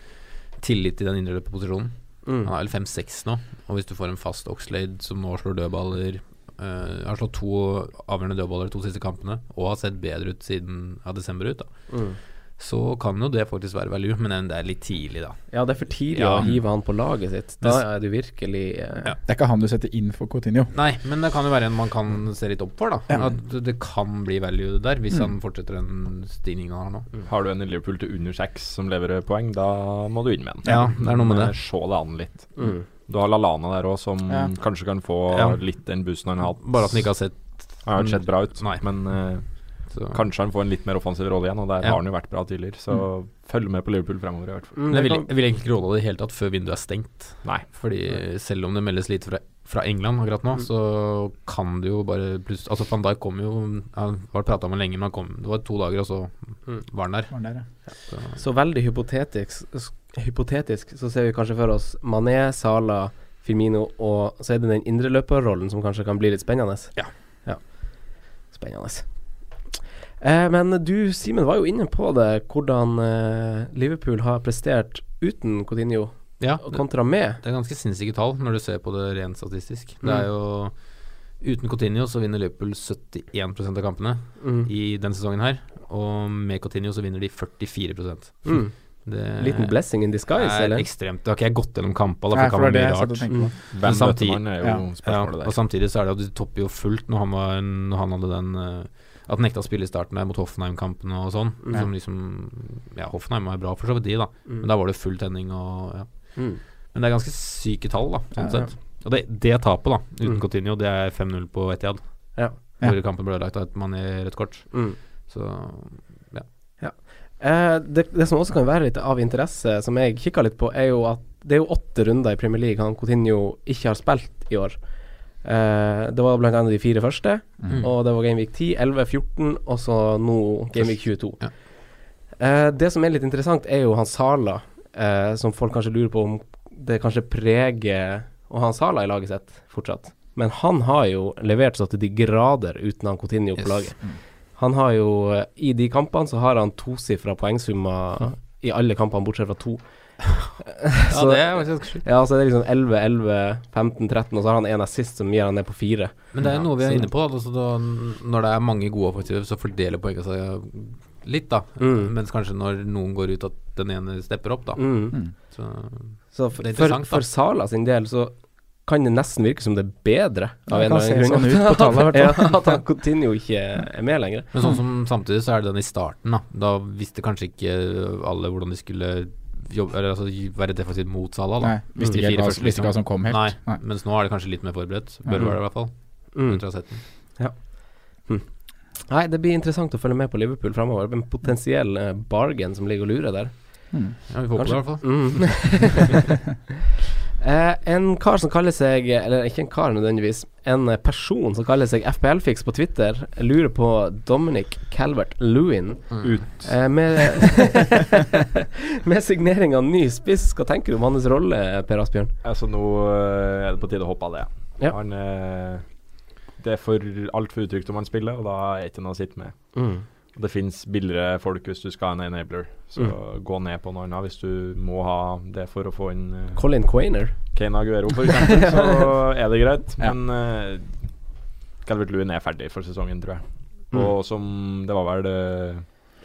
[SPEAKER 2] tillit i den indre løperposisjonen. Han er vel 5-6 nå, og hvis du får en fast Oxlade som nå slår dødballer eh, Har slått to avgjørende dødballer de to siste kampene, og har sett bedre ut siden ja, desember ut, da. Så kan jo det faktisk være value, men det er litt tidlig, da.
[SPEAKER 3] Ja, det er for tidlig
[SPEAKER 2] Ja.
[SPEAKER 3] å hive han på laget sitt. Da er du virkelig eh,
[SPEAKER 6] Det er ikke han du setter inn for Coutinho.
[SPEAKER 2] Nei, men det kan jo være en man kan se litt opp for, da. At det kan bli value der,
[SPEAKER 6] Mm.
[SPEAKER 2] hvis han fortsetter den stigningen han har nå.
[SPEAKER 5] Mm. Har du en i Liverpool til under seks som leverer poeng, da må du inn med en.
[SPEAKER 2] Ja, det er noe med det.
[SPEAKER 5] Se det an litt.
[SPEAKER 3] Mm.
[SPEAKER 5] Du har Lalana der òg, som
[SPEAKER 6] Ja.
[SPEAKER 5] kanskje kan få
[SPEAKER 2] Ja.
[SPEAKER 5] litt den boosten han har hatt.
[SPEAKER 2] Bare at han ikke har sett
[SPEAKER 5] Han har jo sett bra ut,
[SPEAKER 2] Nei.
[SPEAKER 5] men eh,
[SPEAKER 2] så.
[SPEAKER 5] kanskje han får en litt mer offensiv rolle igjen, og der
[SPEAKER 2] Ja.
[SPEAKER 5] har han jo vært bra tidligere. Så følg med på Liverpool fremover, i hvert fall.
[SPEAKER 3] mm,
[SPEAKER 2] Men
[SPEAKER 3] det
[SPEAKER 2] jeg vil,
[SPEAKER 3] kan-
[SPEAKER 2] jeg vil egentlig ikke råde det i det hele tatt før vinduet er stengt.
[SPEAKER 5] Nei.
[SPEAKER 2] Fordi selv om det meldes lite fra, fra England akkurat nå, så kan det jo bare plutselig Altså Van Dijk kom jo Han var prata med lenge, men han kom Det var to dager, og
[SPEAKER 3] Mm.
[SPEAKER 2] så var han der.
[SPEAKER 6] Var han der, ja.
[SPEAKER 3] Så veldig hypotetisk, s- hypotetisk så ser vi kanskje for oss Mané, Sala, Firmino og så er det den indreløperrollen som kanskje kan bli litt spennende.
[SPEAKER 2] Ja.
[SPEAKER 3] Ja. Spennende. Eh, men du, Simen, var jo inne på det, hvordan eh, Liverpool har prestert uten Coutinho
[SPEAKER 2] Ja,
[SPEAKER 3] og
[SPEAKER 2] det,
[SPEAKER 3] kontra med.
[SPEAKER 2] det er ganske sinnssyke tall når du ser på det rent statistisk. Det
[SPEAKER 3] Mm.
[SPEAKER 2] er jo Uten Coutinho så vinner Liverpool 71 av kampene
[SPEAKER 3] Mm.
[SPEAKER 2] i denne sesongen her. Og med Coutinho så vinner de 44
[SPEAKER 3] Mm.
[SPEAKER 2] Det
[SPEAKER 3] Liten blessing in disguise,
[SPEAKER 2] er
[SPEAKER 3] eller?
[SPEAKER 2] ekstremt. Det har ikke jeg gått gjennom kampa, da, for
[SPEAKER 6] Nei,
[SPEAKER 2] det kan
[SPEAKER 6] for det var
[SPEAKER 2] være mye
[SPEAKER 6] det jeg satt og
[SPEAKER 2] rart.
[SPEAKER 6] tenkte på.
[SPEAKER 5] Hvem
[SPEAKER 2] Men
[SPEAKER 5] møter
[SPEAKER 2] samti-
[SPEAKER 5] man, er jo
[SPEAKER 6] ja.
[SPEAKER 2] Ja,
[SPEAKER 5] spørsmålet
[SPEAKER 2] og
[SPEAKER 5] der.
[SPEAKER 2] samtidig så er det at du topper jo fullt når han, var en, når han hadde den eh, At han nekta å spille i starten der mot Hoffenheim-kampen og sånn.
[SPEAKER 3] Ja.
[SPEAKER 2] Som liksom Ja, Hoffenheim var bra for så vidt, de, da.
[SPEAKER 3] Mm.
[SPEAKER 2] Men da var det full tenning og ja.
[SPEAKER 3] Mm.
[SPEAKER 2] Men det er ganske syke tall, da, sånn
[SPEAKER 3] Ja, ja.
[SPEAKER 2] sett. Og det, det tapet, da, uten
[SPEAKER 3] Mm.
[SPEAKER 2] Coutinho, det er 5-0 på Etiad.
[SPEAKER 3] Ja.
[SPEAKER 2] Hvor kampen ble ødelagt av et mann i rødt kort.
[SPEAKER 3] Mm.
[SPEAKER 2] Så
[SPEAKER 3] Eh, det, det som også kan være litt av interesse, som jeg kikka litt på, er jo at det er jo åtte runder i Premier League han Coutinho ikke har spilt i år. Eh, det var blant annet de fire første,
[SPEAKER 2] Mm.
[SPEAKER 3] og det var Gameweek 10, 11, 14, og så nå Gameweek 22.
[SPEAKER 2] Ja.
[SPEAKER 3] Eh, det som er litt interessant, er jo han Sala, eh, som folk kanskje lurer på om det kanskje preger å ha han Sala i laget sitt fortsatt. Men han har jo levert så til de grader uten han Coutinho på
[SPEAKER 2] Yes.
[SPEAKER 3] laget. Han har jo eh, I de kampene så har han tosifra poengsummer i alle kampene, bortsett fra to. Så-
[SPEAKER 2] det er faktisk ganske sjukt.
[SPEAKER 3] Ja, så er det liksom 11, 11, 15, 13, og så har han en assist som gir han ned på fire.
[SPEAKER 2] Men det er jo noe vi er
[SPEAKER 3] Så-
[SPEAKER 2] inne på. da, Altså, da, når det er mange gode offensive, så fordeler poengene seg litt, da.
[SPEAKER 3] Mm.
[SPEAKER 2] Mens kanskje når noen går ut, at den ene stepper opp, da.
[SPEAKER 3] Mm.
[SPEAKER 2] Så,
[SPEAKER 3] Så for,
[SPEAKER 2] det er
[SPEAKER 3] for,
[SPEAKER 2] interessant,
[SPEAKER 3] for
[SPEAKER 2] da.
[SPEAKER 3] Sala sin del så kan det nesten virke som det er bedre. Av
[SPEAKER 6] Ja,
[SPEAKER 3] en
[SPEAKER 6] det kan
[SPEAKER 3] eller annen
[SPEAKER 6] se
[SPEAKER 3] grunn.
[SPEAKER 6] sånn ut
[SPEAKER 3] <laughs>
[SPEAKER 6] på tallet, i hvert fall.
[SPEAKER 3] ja, at han Coutinho ikke er med lenger.
[SPEAKER 2] Men sånn som samtidig så er det den i starten, da. Da visste kanskje ikke alle hvordan de skulle jobbe, eller altså være defensivt mot Salah, da.
[SPEAKER 6] Nei, visste
[SPEAKER 2] De
[SPEAKER 6] ikke helt
[SPEAKER 2] fire
[SPEAKER 6] hva-
[SPEAKER 2] første,
[SPEAKER 6] visste ikke hva som kom helt.
[SPEAKER 2] Nei,
[SPEAKER 6] Nei.
[SPEAKER 2] mens nå er det kanskje litt mer forberedt.
[SPEAKER 6] Ja.
[SPEAKER 2] Bør være det, i hvert fall.
[SPEAKER 3] Mm.
[SPEAKER 2] Etter å ha sett den.
[SPEAKER 3] Nei, det blir interessant å følge med på Liverpool framover. En potensiell eh, bargain som ligger og lurer der.
[SPEAKER 6] Mm.
[SPEAKER 2] Ja, vi får håpe det, i hvert fall.
[SPEAKER 3] Mm. <laughs> Eh, en kar som kaller seg Eller ikke en kar nødvendigvis. En eh, person som kaller seg FPLfix på Twitter, lurer på Dominic Calvert Lewin.
[SPEAKER 5] Ut.
[SPEAKER 3] Eh, med, <laughs> med signering av ny spiss, hva tenker du om hans rolle, Per Asbjørn?
[SPEAKER 5] Altså, nå eh, er det på tide å hoppe av det.
[SPEAKER 3] Ja.
[SPEAKER 5] Han eh, Det er for altfor utrygt om han spiller, og da er det ikke noe å sitte med.
[SPEAKER 3] Mm.
[SPEAKER 5] Og det fins billigere folk hvis du skal ha en enabler, så gå ned på noe annet hvis du må ha det for å få inn eh,
[SPEAKER 3] Colin Quainer.
[SPEAKER 5] Kane Aguero, for eksempel, så er det greit. Men uh, Calvert Lewin er ferdig for sesongen, tror jeg.
[SPEAKER 3] Mm.
[SPEAKER 6] Mm.
[SPEAKER 5] Og som Det var vel eh,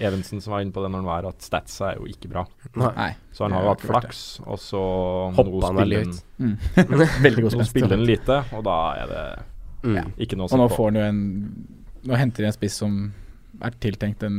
[SPEAKER 5] Evensen som var inne på det når han var at statsa er jo ikke bra.
[SPEAKER 6] Nei.
[SPEAKER 5] Så han har
[SPEAKER 6] Det
[SPEAKER 5] jo
[SPEAKER 6] er
[SPEAKER 5] hatt
[SPEAKER 6] klart
[SPEAKER 5] flaks, og så
[SPEAKER 3] Hoppa
[SPEAKER 5] nå
[SPEAKER 3] han veldig
[SPEAKER 5] spiller
[SPEAKER 3] høyt.
[SPEAKER 6] Mm. Veldig godt
[SPEAKER 5] Nå
[SPEAKER 6] spilt.
[SPEAKER 5] spiller han lite, og da er det
[SPEAKER 3] Mm.
[SPEAKER 5] ikke noe å
[SPEAKER 6] Og nå
[SPEAKER 5] se på.
[SPEAKER 6] får han jo en Nå henter de en spiss som er tiltenkt en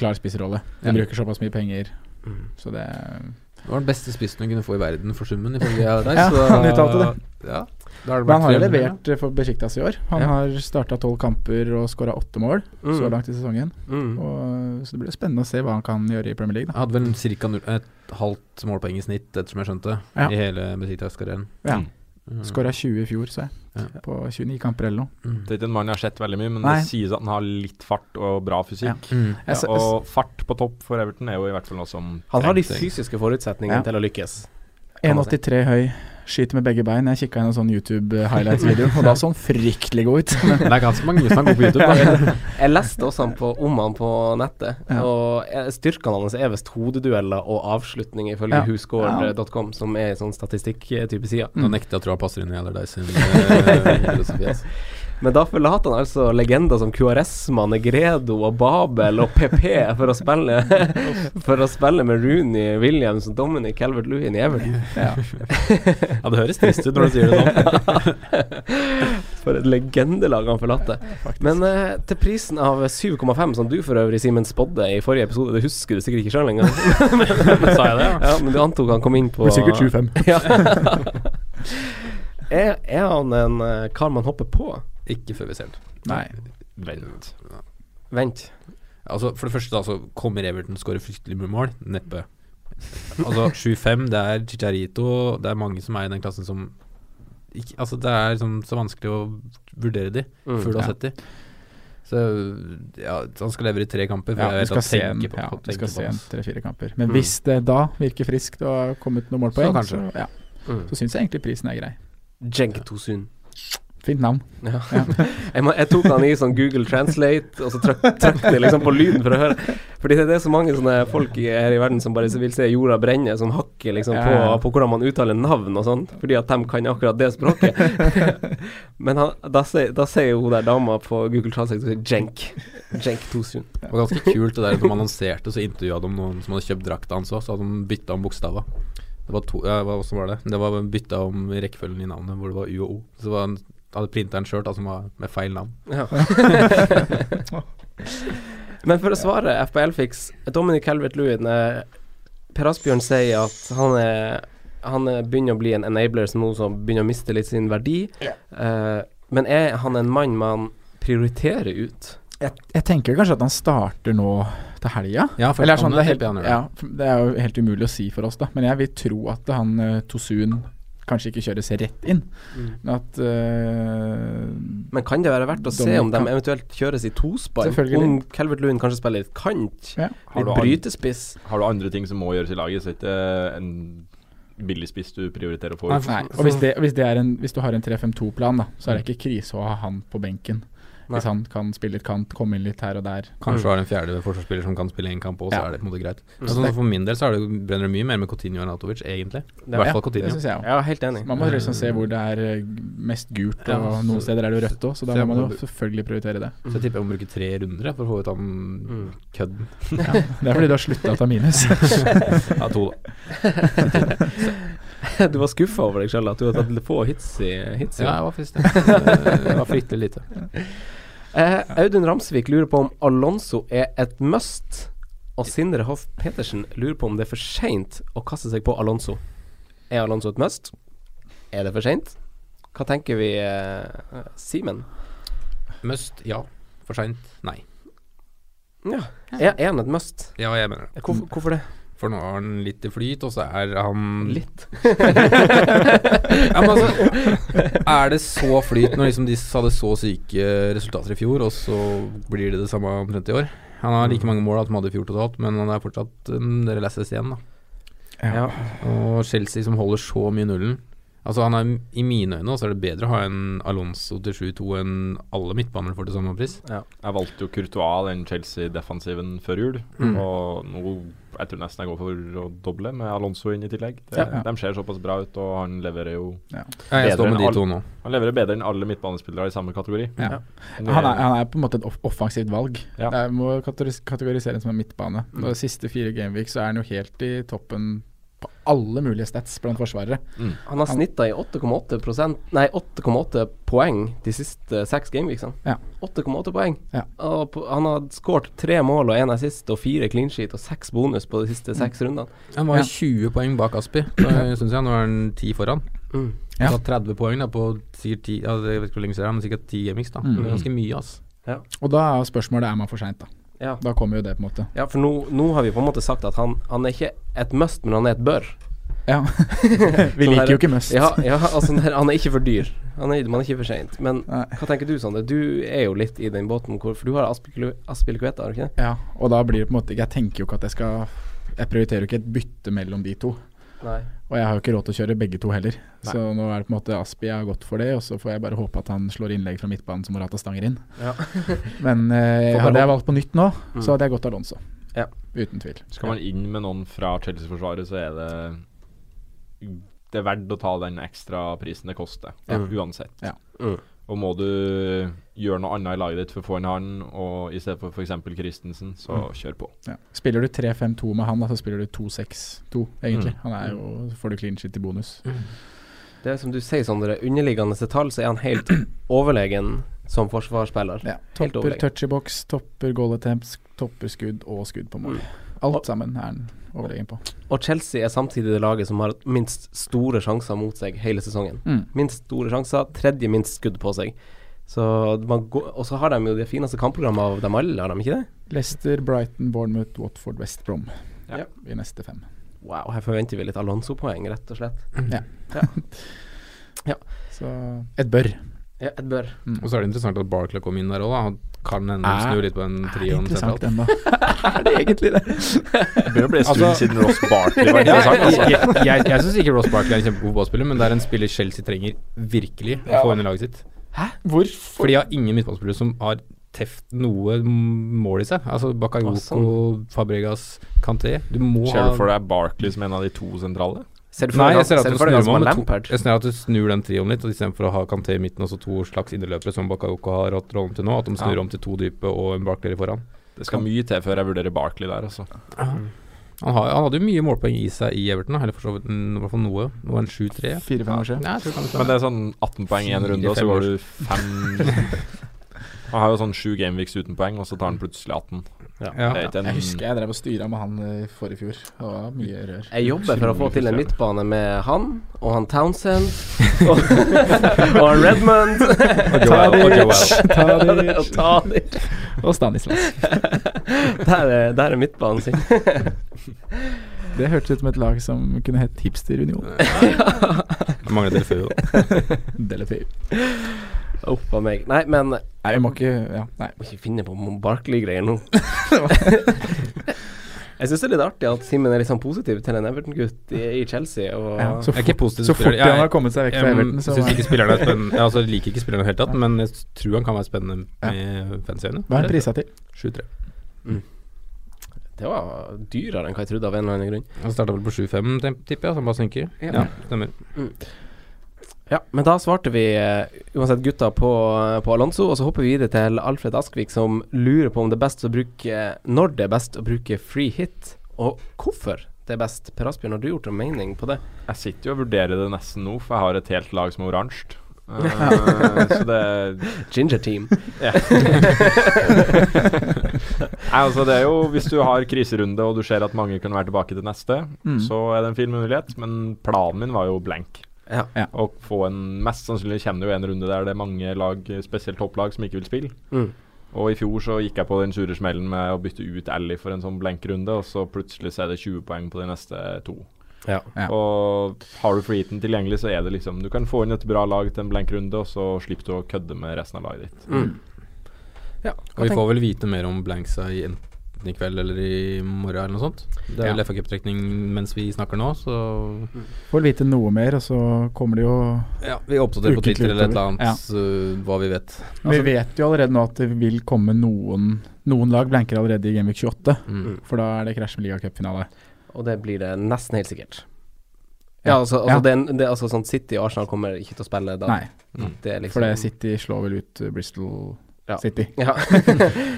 [SPEAKER 6] klar spissrolle. De bruker såpass mye penger,
[SPEAKER 3] Mm.
[SPEAKER 6] så det
[SPEAKER 2] Det var den beste spissen du kunne få i verden for summen, ifølge deg.
[SPEAKER 6] Ja,
[SPEAKER 2] så-
[SPEAKER 6] han uttalte
[SPEAKER 2] Ja, da er det
[SPEAKER 6] Men han har jo
[SPEAKER 2] flere millioner,
[SPEAKER 6] levert for Besjiktas i år. Han
[SPEAKER 2] Ja.
[SPEAKER 6] har starta tolv kamper og skåra åtte mål
[SPEAKER 3] Mm.
[SPEAKER 6] så langt i sesongen.
[SPEAKER 3] Mm.
[SPEAKER 6] Og, så det blir spennende å se hva han kan gjøre i Premier League.
[SPEAKER 2] Jeg hadde vel ca. et halvt målpoeng i snitt, ettersom jeg skjønte,
[SPEAKER 6] Ja.
[SPEAKER 2] i hele Besiktas-karrieren.
[SPEAKER 6] da ja.
[SPEAKER 2] Mm.
[SPEAKER 6] Skåra 20 i fjor, så jeg.
[SPEAKER 2] Ja.
[SPEAKER 6] På 29 kamper eller noe.
[SPEAKER 5] Det er ikke en mann jeg har sett veldig mye, men
[SPEAKER 6] Nei. Altså,
[SPEAKER 5] det sies at han har litt fart og bra fysikk.
[SPEAKER 2] Mm.
[SPEAKER 6] Jeg s-
[SPEAKER 5] og fart på topp for Everton er jo i hvert fall noe som
[SPEAKER 3] Han har de
[SPEAKER 5] trengs.
[SPEAKER 3] fysiske forutsetningene
[SPEAKER 6] Ja.
[SPEAKER 3] til å lykkes. kan man si.
[SPEAKER 6] 1,83 høy, skyter med begge bein. Jeg kikka inn en sånn YouTube highlights-video, og da så han fryktelig god ut.
[SPEAKER 2] <laughs> Det er ganske mange som er gode på YouTube. Da.
[SPEAKER 6] <laughs>
[SPEAKER 3] Jeg leste også han på, om han på nettet,
[SPEAKER 6] Ja.
[SPEAKER 3] og eh, styrkene hans er visst hodedueller og avslutning, ifølge
[SPEAKER 6] Ja.
[SPEAKER 3] husgård.com, som er en sånn statistikktype side.
[SPEAKER 2] Nå nekter jeg å tro han passer inn i Allardyce
[SPEAKER 3] <laughs>
[SPEAKER 2] sin eh, filosofi. Altså.
[SPEAKER 3] Men da forlater han altså legender som Cuaresma, Negredo og Babel og PP for å spille <laughs> For å spille med Rooney, Williams og Dominic Calvert-Lewin i Everton.
[SPEAKER 2] <laughs> Ja, det høres trist ut når du sier det
[SPEAKER 3] <laughs>
[SPEAKER 2] sånn.
[SPEAKER 3] For et legendelag han forlater. Men eh, til prisen av 7,5, som du for øvrig, Simen, spådde i forrige episode, det husker du sikkert ikke sjøl
[SPEAKER 2] <laughs>
[SPEAKER 3] engang.
[SPEAKER 2] Sa jeg det, ja?
[SPEAKER 3] Ja, men du antok han kom inn på
[SPEAKER 6] Blir sikkert 7-5.
[SPEAKER 3] Ja. er, er han en eh, kar man hopper på?
[SPEAKER 2] Ikke før vi ser den.
[SPEAKER 6] Nei.
[SPEAKER 5] Vent.
[SPEAKER 3] Vent.
[SPEAKER 2] Altså, for det første, da, så kommer Everton skåre fryktelig mye mål. Neppe. Altså, 7-5, det er Chicharito, det er mange som er i den klassen som ikke, Altså, det er sånn, så vanskelig å vurdere de
[SPEAKER 3] Mm,
[SPEAKER 2] før du
[SPEAKER 6] ja.
[SPEAKER 2] har sett de. Så ja, han skal levere i tre kamper. For
[SPEAKER 6] Ja,
[SPEAKER 2] jeg
[SPEAKER 6] du
[SPEAKER 2] vet
[SPEAKER 6] skal
[SPEAKER 2] at
[SPEAKER 6] se en
[SPEAKER 2] tenker på,
[SPEAKER 6] ja, du
[SPEAKER 2] tenker
[SPEAKER 6] skal
[SPEAKER 2] på
[SPEAKER 6] se
[SPEAKER 2] han.
[SPEAKER 6] en tre-fire kamper. Men hvis det da virker friskt og har kommet noen
[SPEAKER 2] Så
[SPEAKER 6] målpoeng, så,
[SPEAKER 2] kanskje.
[SPEAKER 6] ja.
[SPEAKER 3] Mm.
[SPEAKER 6] så syns jeg egentlig prisen er grei.
[SPEAKER 3] Jenk Tosun.
[SPEAKER 6] Fint navn.
[SPEAKER 3] Ja. jeg, må, jeg tok han i sånn Google Translate, og så trakk trakk det liksom på lyden for å høre. Fordi det er så mange sånne folk i- her i verden som bare vil se jorda brenne, som hakker liksom på,
[SPEAKER 6] Ja, ja.
[SPEAKER 3] på hvordan man uttaler navn og sånn, fordi at de kan akkurat det språket. Men han, da, sier- da sier jo hun der dama på Google Translate hun sier Jenk. Jenk Tosun.
[SPEAKER 2] Det var
[SPEAKER 6] <laughs>
[SPEAKER 2] ganske kult det der når man annonserte, så intervjua de noen som hadde kjøpt drakta hans òg, så hadde de bytta om bokstava. Det var to ja, hva hva som var det? Det var bytta om rekkefølgen i navnet, hvor det var U og O. Så var han hadde printa en skjørt da, som var med feil navn.
[SPEAKER 3] Ja. Men for å svare FPL-fiks Dominic Calvert-Lewin eh, Per Asbjørn sier at han er Han eh, begynner å bli en enabler som nå som begynner å miste litt sin verdi. Eh, men er han en mann man prioriterer ut?
[SPEAKER 6] Jeg, jeg tenker kanskje at han starter nå til helga.
[SPEAKER 2] Ja, for
[SPEAKER 6] Eller sånn,
[SPEAKER 2] han
[SPEAKER 6] det, er
[SPEAKER 2] er
[SPEAKER 6] helt,
[SPEAKER 2] helt enig,
[SPEAKER 6] ja, det er jo helt umulig å si for oss, da. Men jeg vil tro at han eh, Tosun kanskje ikke kjøres rett inn,
[SPEAKER 2] Mm.
[SPEAKER 6] men at eh,
[SPEAKER 3] Men kan det være verdt å se
[SPEAKER 6] Dominic
[SPEAKER 3] om de
[SPEAKER 6] kan-
[SPEAKER 3] eventuelt kjøres i tospann?
[SPEAKER 6] Selvfølgelig.
[SPEAKER 3] Om Calvert-Lewin kanskje spiller litt kant?
[SPEAKER 6] Ja.
[SPEAKER 5] du
[SPEAKER 3] Litt
[SPEAKER 5] an-
[SPEAKER 3] brytespiss?
[SPEAKER 5] Har du andre ting som må gjøres i laget, så er det ikke eh, en billig spiss du prioriterer å få
[SPEAKER 6] Nei, og hvis, det, hvis, det er en, hvis du har en 3-5-2-plan, da, så er det ikke krise å ha han på benken.
[SPEAKER 2] Mm. Nei.
[SPEAKER 6] Hvis han kan spille litt kant, komme inn litt her og der.
[SPEAKER 2] Kanskje du har en fjerde forsvarsspiller som kan spille én kamp òg, så
[SPEAKER 6] Ja.
[SPEAKER 2] er det på en måte greit.
[SPEAKER 6] Mm.
[SPEAKER 2] Men sånn for min del så er det, brenner det mye mer med Coutinho enn Atovic, egentlig. I hvert fall Coutinho.
[SPEAKER 6] Det synes jeg også.
[SPEAKER 3] Ja, helt enig.
[SPEAKER 6] Man må liksom se hvor det er eh, mest gult, og
[SPEAKER 2] Ja,
[SPEAKER 6] noen
[SPEAKER 2] så-
[SPEAKER 6] steder er det jo rødt òg, så da
[SPEAKER 2] så jeg
[SPEAKER 6] må man
[SPEAKER 2] må
[SPEAKER 6] jo
[SPEAKER 2] bru-
[SPEAKER 6] selvfølgelig prioritere det.
[SPEAKER 2] Så
[SPEAKER 6] <laughs>
[SPEAKER 2] jeg tipper jeg må bruke tre runder jeg, for å få ut han
[SPEAKER 6] Mm.
[SPEAKER 2] kødden.
[SPEAKER 6] Ja, det er fordi du har sluttet å ta minus.
[SPEAKER 2] ja, to, da.
[SPEAKER 3] Du var skuffa over deg sjøl at du hadde tatt få hits i hits i
[SPEAKER 2] Ja,
[SPEAKER 3] år.
[SPEAKER 2] jeg var faktisk det. Det var fryktelig lite.
[SPEAKER 3] <laughs> Eh, Audun Ramsvik lurer på om Alonso er et must, og Sindre Hoff Petersen lurer på om det er for seint å kaste seg på Alonso. Er Alonso et must? Er det for seint? Hva tenker vi, eh, Simen?
[SPEAKER 2] Must, ja. For seint, nei.
[SPEAKER 3] Ja, er, er han et must?
[SPEAKER 2] Ja, jeg mener det.
[SPEAKER 3] Hvorfor, hvorfor det?
[SPEAKER 2] For nå er han litt i flyt, og så er han
[SPEAKER 3] Litt?
[SPEAKER 2] <laughs> ja, men altså, er det så flyt når liksom de hadde så syke resultater i fjor, og så blir det det samme omtrent i år? Han har like mange mål som han hadde i fjor totalt, men han er fortsatt en del assist igjen, da.
[SPEAKER 3] Ja.
[SPEAKER 2] Og Chelsea som holder så mye nullen Altså han er, I mine øyne så er det bedre å ha en Alonso til 7-2 enn alle midtbanere for til samme pris.
[SPEAKER 5] Jeg valgte jo Courtois, den Chelsea-defensiven før jul.
[SPEAKER 2] Mm.
[SPEAKER 5] Og nå jeg tror nesten jeg går for å doble med Alonso inn i tillegg. Det,
[SPEAKER 2] Ja.
[SPEAKER 5] De ser såpass bra ut, og han leverer jo
[SPEAKER 6] Ja.
[SPEAKER 2] Ja, jeg står med
[SPEAKER 5] enn
[SPEAKER 2] de
[SPEAKER 5] alle-
[SPEAKER 2] to nå.
[SPEAKER 5] Han leverer bedre enn alle midtbanespillere i samme kategori.
[SPEAKER 6] Ja.
[SPEAKER 5] Det-
[SPEAKER 6] Han er, han er på en måte et off offensivt valg.
[SPEAKER 5] Ja.
[SPEAKER 6] Det er, må kategoris- kategorisere som en midtbane. Og de siste fire Gameweek så er han jo helt i toppen på alle mulige stats blant forsvarere.
[SPEAKER 3] Han har snitta i 8,8 prosent- Nei, 8,8 poeng de siste seks gameweeksene.
[SPEAKER 6] Ja.
[SPEAKER 3] 8,8 poeng.
[SPEAKER 6] Ja.
[SPEAKER 3] Og på- han har skåret tre mål og én assist og fire clean sheet og seks bonus på de
[SPEAKER 6] Mm.
[SPEAKER 3] siste seks rundene.
[SPEAKER 2] Han var
[SPEAKER 6] Ja.
[SPEAKER 2] 20 poeng bak Aspi, syns jeg. Nå er han 10 foran.
[SPEAKER 3] Mm.
[SPEAKER 6] Ja.
[SPEAKER 2] Så 30 poeng da på sikkert 10 ja, Jeg vet ikke hvor lenge siden, det er, men sikkert 10 gamings. da
[SPEAKER 6] Mm.
[SPEAKER 2] Det er ganske mye, ass.
[SPEAKER 6] Og da er jo spørsmålet er man for seint, da.
[SPEAKER 3] Ja.
[SPEAKER 6] Da kommer jo det, på en måte.
[SPEAKER 3] ja, for nå, nå har vi på en måte sagt at han, han er ikke et must, men han er et bør.
[SPEAKER 6] Ja.
[SPEAKER 3] Sånn
[SPEAKER 6] <laughs> Vi
[SPEAKER 3] her-
[SPEAKER 6] liker jo ikke Must.
[SPEAKER 3] Ja, ja altså sånn her, han er ikke for dyr. Han er, man er ikke for seint. Men
[SPEAKER 6] <laughs> Nei.
[SPEAKER 3] hva tenker du, Sondre? Du er jo litt i den båten, hvor, for du har Aspilicueta, har du ikke det?
[SPEAKER 6] Ja, og da blir det på en måte Jeg tenker jo ikke at jeg skal Jeg prioriterer jo ikke et bytte mellom de to.
[SPEAKER 3] Nei.
[SPEAKER 6] Og jeg har jo ikke råd til å kjøre begge to heller. Så nå er det på en måte Aspi jeg har gått for det, og så får jeg bare håpe at han slår innlegg fra midtbanen som Morata stanger inn. <laughs> Men eh,
[SPEAKER 3] Får bare
[SPEAKER 6] hadde
[SPEAKER 3] håpe.
[SPEAKER 6] jeg valgt på nytt nå,
[SPEAKER 3] Mm.
[SPEAKER 6] så hadde jeg gått Alonso.
[SPEAKER 3] Ja.
[SPEAKER 6] Uten tvil.
[SPEAKER 5] Skal man inn med noen fra Chelsea-forsvaret, så er det Det er verdt å ta den ekstra prisen det koster,
[SPEAKER 6] Ja.
[SPEAKER 5] uansett.
[SPEAKER 6] Ja.
[SPEAKER 3] Mm.
[SPEAKER 5] Og må du gjøre noe annet i laget ditt for å få inn han, og i stedet for f.eks. Christensen, så
[SPEAKER 2] Mm.
[SPEAKER 5] kjør på.
[SPEAKER 6] Ja. Spiller du 3-5-2 med han, da, så spiller du 2-6-2,
[SPEAKER 3] Mm.
[SPEAKER 6] egentlig. Han er jo, så får du clean shit i bonus.
[SPEAKER 3] Det er som du sier, Sondre. Underliggende til tall så er han helt overlegen som forsvarsspiller.
[SPEAKER 6] Ja.
[SPEAKER 3] Helt
[SPEAKER 6] Topper
[SPEAKER 3] overlegen.
[SPEAKER 6] touch i boks, topper goal attempts, topper skudd og skudd på
[SPEAKER 3] Mm.
[SPEAKER 6] mål. Alt sammen er han overlegen på.
[SPEAKER 3] Og Chelsea er samtidig det laget som har minst store sjanser mot seg hele sesongen.
[SPEAKER 6] Mm.
[SPEAKER 3] Minst store sjanser, tredje minst skudd på seg. Så man går, og så har de jo det fineste kampprogrammet av dem alle, har de ikke det?
[SPEAKER 6] Leicester, Brighton, Bournemouth, Watford, West Brom
[SPEAKER 5] Ja.
[SPEAKER 6] i neste fem.
[SPEAKER 3] Wow, her forventer vi litt Alonso-poeng, rett og slett.
[SPEAKER 6] Så et bør.
[SPEAKER 3] Ja, et bør.
[SPEAKER 2] Og så er det interessant at Barclay kom inn der òg, da. Han kan hende
[SPEAKER 6] Er-
[SPEAKER 2] snu litt på den
[SPEAKER 6] Er det
[SPEAKER 2] trioen
[SPEAKER 6] interessant
[SPEAKER 2] sentralt.
[SPEAKER 6] ennå?
[SPEAKER 3] Er <laughs> det egentlig det?
[SPEAKER 5] Det bør bli en stund
[SPEAKER 2] Altså-
[SPEAKER 5] siden Ross Barkley var interessant. Altså.
[SPEAKER 2] jeg jeg, jeg syns ikke Ross Barkley er en kjempegod ballspiller, men det er en spiller Chelsea trenger virkelig å få inn i laget sitt.
[SPEAKER 6] <laughs> Hvorfor?
[SPEAKER 2] For de har ingen midtbanespillere som har teft noe mål i seg. Altså Bakayoko, Fabregas, Kanté. Du må
[SPEAKER 5] Ser du
[SPEAKER 2] ha
[SPEAKER 5] for deg Barkley som en av de to sentrale?
[SPEAKER 3] Ser du for
[SPEAKER 2] Nei, jeg
[SPEAKER 3] deg han-
[SPEAKER 2] ser at
[SPEAKER 3] du
[SPEAKER 2] du
[SPEAKER 3] for deg
[SPEAKER 2] snur
[SPEAKER 3] han som
[SPEAKER 2] meg
[SPEAKER 3] har
[SPEAKER 2] med
[SPEAKER 3] Lampard?
[SPEAKER 2] to- jeg ser at du snur den trioen litt, og istedenfor å ha Kanté i midten og så to slags indreløpere som Bakayoko har hatt rollen til nå, at de snur
[SPEAKER 5] Ja.
[SPEAKER 2] om til to dype og en bakdeler foran.
[SPEAKER 5] Det skal mye til før jeg vurderer Barkley der, altså.
[SPEAKER 2] Han, har, han hadde jo mye målpoeng i seg i Everton, da, eller for så vidt mm, i hvert fall noe. Det var en 7-3.
[SPEAKER 6] Fire-fem år siden.
[SPEAKER 2] Nei, jeg tror kanskje
[SPEAKER 5] Men det er sånn 18 poeng i én
[SPEAKER 2] Fire,
[SPEAKER 5] runde, og så
[SPEAKER 2] fem
[SPEAKER 5] går du fem
[SPEAKER 2] <laughs>
[SPEAKER 5] Han har jo sånn sju gameweeks uten poeng, og så tar han plutselig 18.
[SPEAKER 2] ja.
[SPEAKER 5] Det er ikke en-
[SPEAKER 6] Jeg husker jeg drev og styra med han eh, forrige fjor. Det var mye rør.
[SPEAKER 3] Jeg jobber for å få til en
[SPEAKER 6] <laughs>
[SPEAKER 3] midtbane med han og han Townsend og, og <laughs> han Redmond
[SPEAKER 2] Og Joel, og Joel.
[SPEAKER 3] <laughs>
[SPEAKER 6] Tadic.
[SPEAKER 3] og Tadic.
[SPEAKER 6] Og Stanislas.
[SPEAKER 3] Der er, der er midtbanen sin.
[SPEAKER 6] Det hørtes ut som et lag som kunne hett Hipsterunion.
[SPEAKER 2] Jeg mangler telefon.
[SPEAKER 6] Delefeu.
[SPEAKER 3] Uff a meg. Nei, men jeg
[SPEAKER 6] Nei, vi må ikke Ja, nei. <laughs>
[SPEAKER 3] må ikke finne på Barkley-greier nå. Jeg syns det er litt artig at Simen er litt sånn positiv til en Everton-gutt i, i Chelsea. Og
[SPEAKER 6] Ja, så
[SPEAKER 2] Jeg er ikke
[SPEAKER 6] fort-
[SPEAKER 2] positiv
[SPEAKER 6] så
[SPEAKER 2] til spillere.
[SPEAKER 6] fort han
[SPEAKER 2] Jeg-
[SPEAKER 6] har kommet seg vekk fra
[SPEAKER 2] jeg,
[SPEAKER 6] Everton, så-
[SPEAKER 2] synes ikke spillerne er spennende. Jeg altså, liker ikke spillerne i det hele tatt, men jeg tror han kan være spennende med fansøyne.
[SPEAKER 6] Hva er han prisa til?
[SPEAKER 2] 7-3.
[SPEAKER 3] Det var dyrere enn hva jeg trodde, av en eller annen grunn.
[SPEAKER 2] Han starta vel på 7-5, tem- tipper jeg, så han bare synker.
[SPEAKER 3] Ja.
[SPEAKER 2] Ja, stemmer.
[SPEAKER 3] Ja, men da svarte vi eh, uansett gutta på, på Alonso, og så hopper vi videre til Alfred Askvik, som lurer på om det er best å bruke når det er best å bruke free hit, og hvorfor det er best. Per Asbjørn, har du gjort en mening på det?
[SPEAKER 5] Jeg sitter jo og vurderer det nesten nå, for jeg har et helt lag som
[SPEAKER 2] <laughs>
[SPEAKER 5] er oransje. Eh, så det
[SPEAKER 3] Ginger team.
[SPEAKER 5] Ja. Nei, altså det er jo Hvis du har kriserunde og du ser at mange kan være tilbake til neste,
[SPEAKER 6] Mm.
[SPEAKER 5] så er det en fin mulighet, men planen min var jo blank.
[SPEAKER 3] Ja.
[SPEAKER 6] Ja.
[SPEAKER 5] Å få en Mest sannsynlig kommer det jo en runde der det er mange lag, spesielt topplag, som ikke vil spille.
[SPEAKER 3] Mm.
[SPEAKER 5] Og i fjor så gikk jeg på den sure smellen med å bytte ut Ally for en sånn blenkrunde, og så plutselig så er det 20 poeng på de neste to.
[SPEAKER 3] Ja.
[SPEAKER 6] Ja.
[SPEAKER 5] Og har du freeheaten tilgjengelig, så er det liksom Du kan få inn et bra lag til en blenkrunde, og så slipper du å kødde med resten av laget ditt.
[SPEAKER 3] Ja,
[SPEAKER 2] Og vi får vel vite mer om blanksa i enten i kveld eller i morgen eller noe sånt. Det er
[SPEAKER 5] Ja.
[SPEAKER 2] vel FA Cup-trekning mens vi snakker nå, så
[SPEAKER 6] Mm. Får vite noe mer, og så kommer det jo
[SPEAKER 2] ja, vi oppdaterer på
[SPEAKER 6] Ukentlig
[SPEAKER 2] Twitter eller et eller
[SPEAKER 6] utover.
[SPEAKER 2] annet øh, hva vi vet.
[SPEAKER 6] Vi vet jo allerede nå at det vil komme noen Noen lag blanker allerede i Gameweek 28,
[SPEAKER 2] Mm.
[SPEAKER 6] for da er det krasj med ligacupfinale.
[SPEAKER 3] Og det blir det nesten helt sikkert.
[SPEAKER 6] Ja.
[SPEAKER 3] Ja, altså, altså,
[SPEAKER 6] Ja.
[SPEAKER 3] Det, er en- det er altså sånn City og Arsenal kommer ikke til å spille da.
[SPEAKER 6] Nei,
[SPEAKER 3] Det er liksom
[SPEAKER 6] for det City slår vel ut eh, Bristol
[SPEAKER 3] Ja.
[SPEAKER 6] City.
[SPEAKER 3] Ja. <laughs>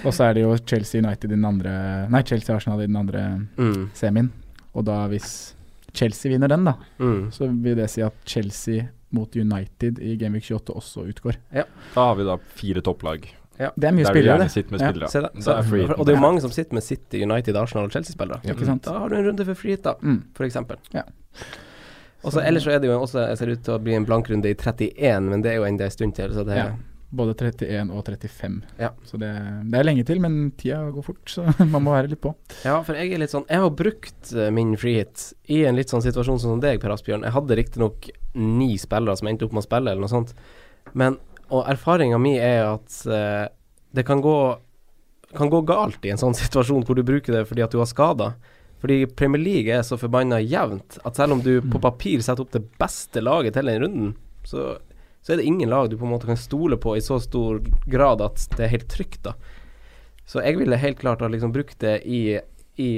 [SPEAKER 6] Og så er det jo Chelsea United i den andre Nei, Chelsea Arsenal i den andre
[SPEAKER 3] mm,
[SPEAKER 6] semien. Og da hvis Chelsea vinner den, da,
[SPEAKER 3] mm.
[SPEAKER 6] så vil det si at Chelsea mot United i Gameweek 28 også utgår.
[SPEAKER 5] Da har vi da fire topplag.
[SPEAKER 6] Det er mye
[SPEAKER 5] der vi
[SPEAKER 6] spillere,
[SPEAKER 5] gjerne
[SPEAKER 6] det.
[SPEAKER 5] sitter med
[SPEAKER 6] Ja,
[SPEAKER 5] spillere.
[SPEAKER 3] Se da,
[SPEAKER 5] Da
[SPEAKER 3] så,
[SPEAKER 5] er free hiten
[SPEAKER 3] og det er jo
[SPEAKER 5] der.
[SPEAKER 3] mange som sitter med City, United, Arsenal og Chelsea-spillere.
[SPEAKER 6] Ikke sant?
[SPEAKER 3] Da har du en runde for frihet, da.
[SPEAKER 6] Mm.
[SPEAKER 3] for eksempel.
[SPEAKER 6] Ja.
[SPEAKER 3] Og så ellers så er det jo også, ser det ut til å bli en blankrunde i 31, men det er jo enda en stund til, så det
[SPEAKER 6] Ja. Både 31 og 35.
[SPEAKER 3] Ja.
[SPEAKER 6] Så det, det er lenge til, men tida går fort, så <laughs> man må være litt på.
[SPEAKER 3] Ja, for jeg er litt sånn Jeg har brukt eh, min frihet i en litt sånn situasjon som deg, Per Asbjørn. Jeg hadde riktignok ni spillere som endte opp med å spille, eller noe sånt, men Og erfaringa mi er at eh, det kan gå kan gå galt i en sånn <laughs> situasjon hvor du bruker det fordi at du har skader. Fordi Premier League er så forbanna jevnt at selv om du på papir setter opp det beste laget til den runden, så, så er det ingen lag du på en måte kan stole på i så stor grad at det er helt trygt, da. Så jeg ville helt klart ha liksom brukt det i, i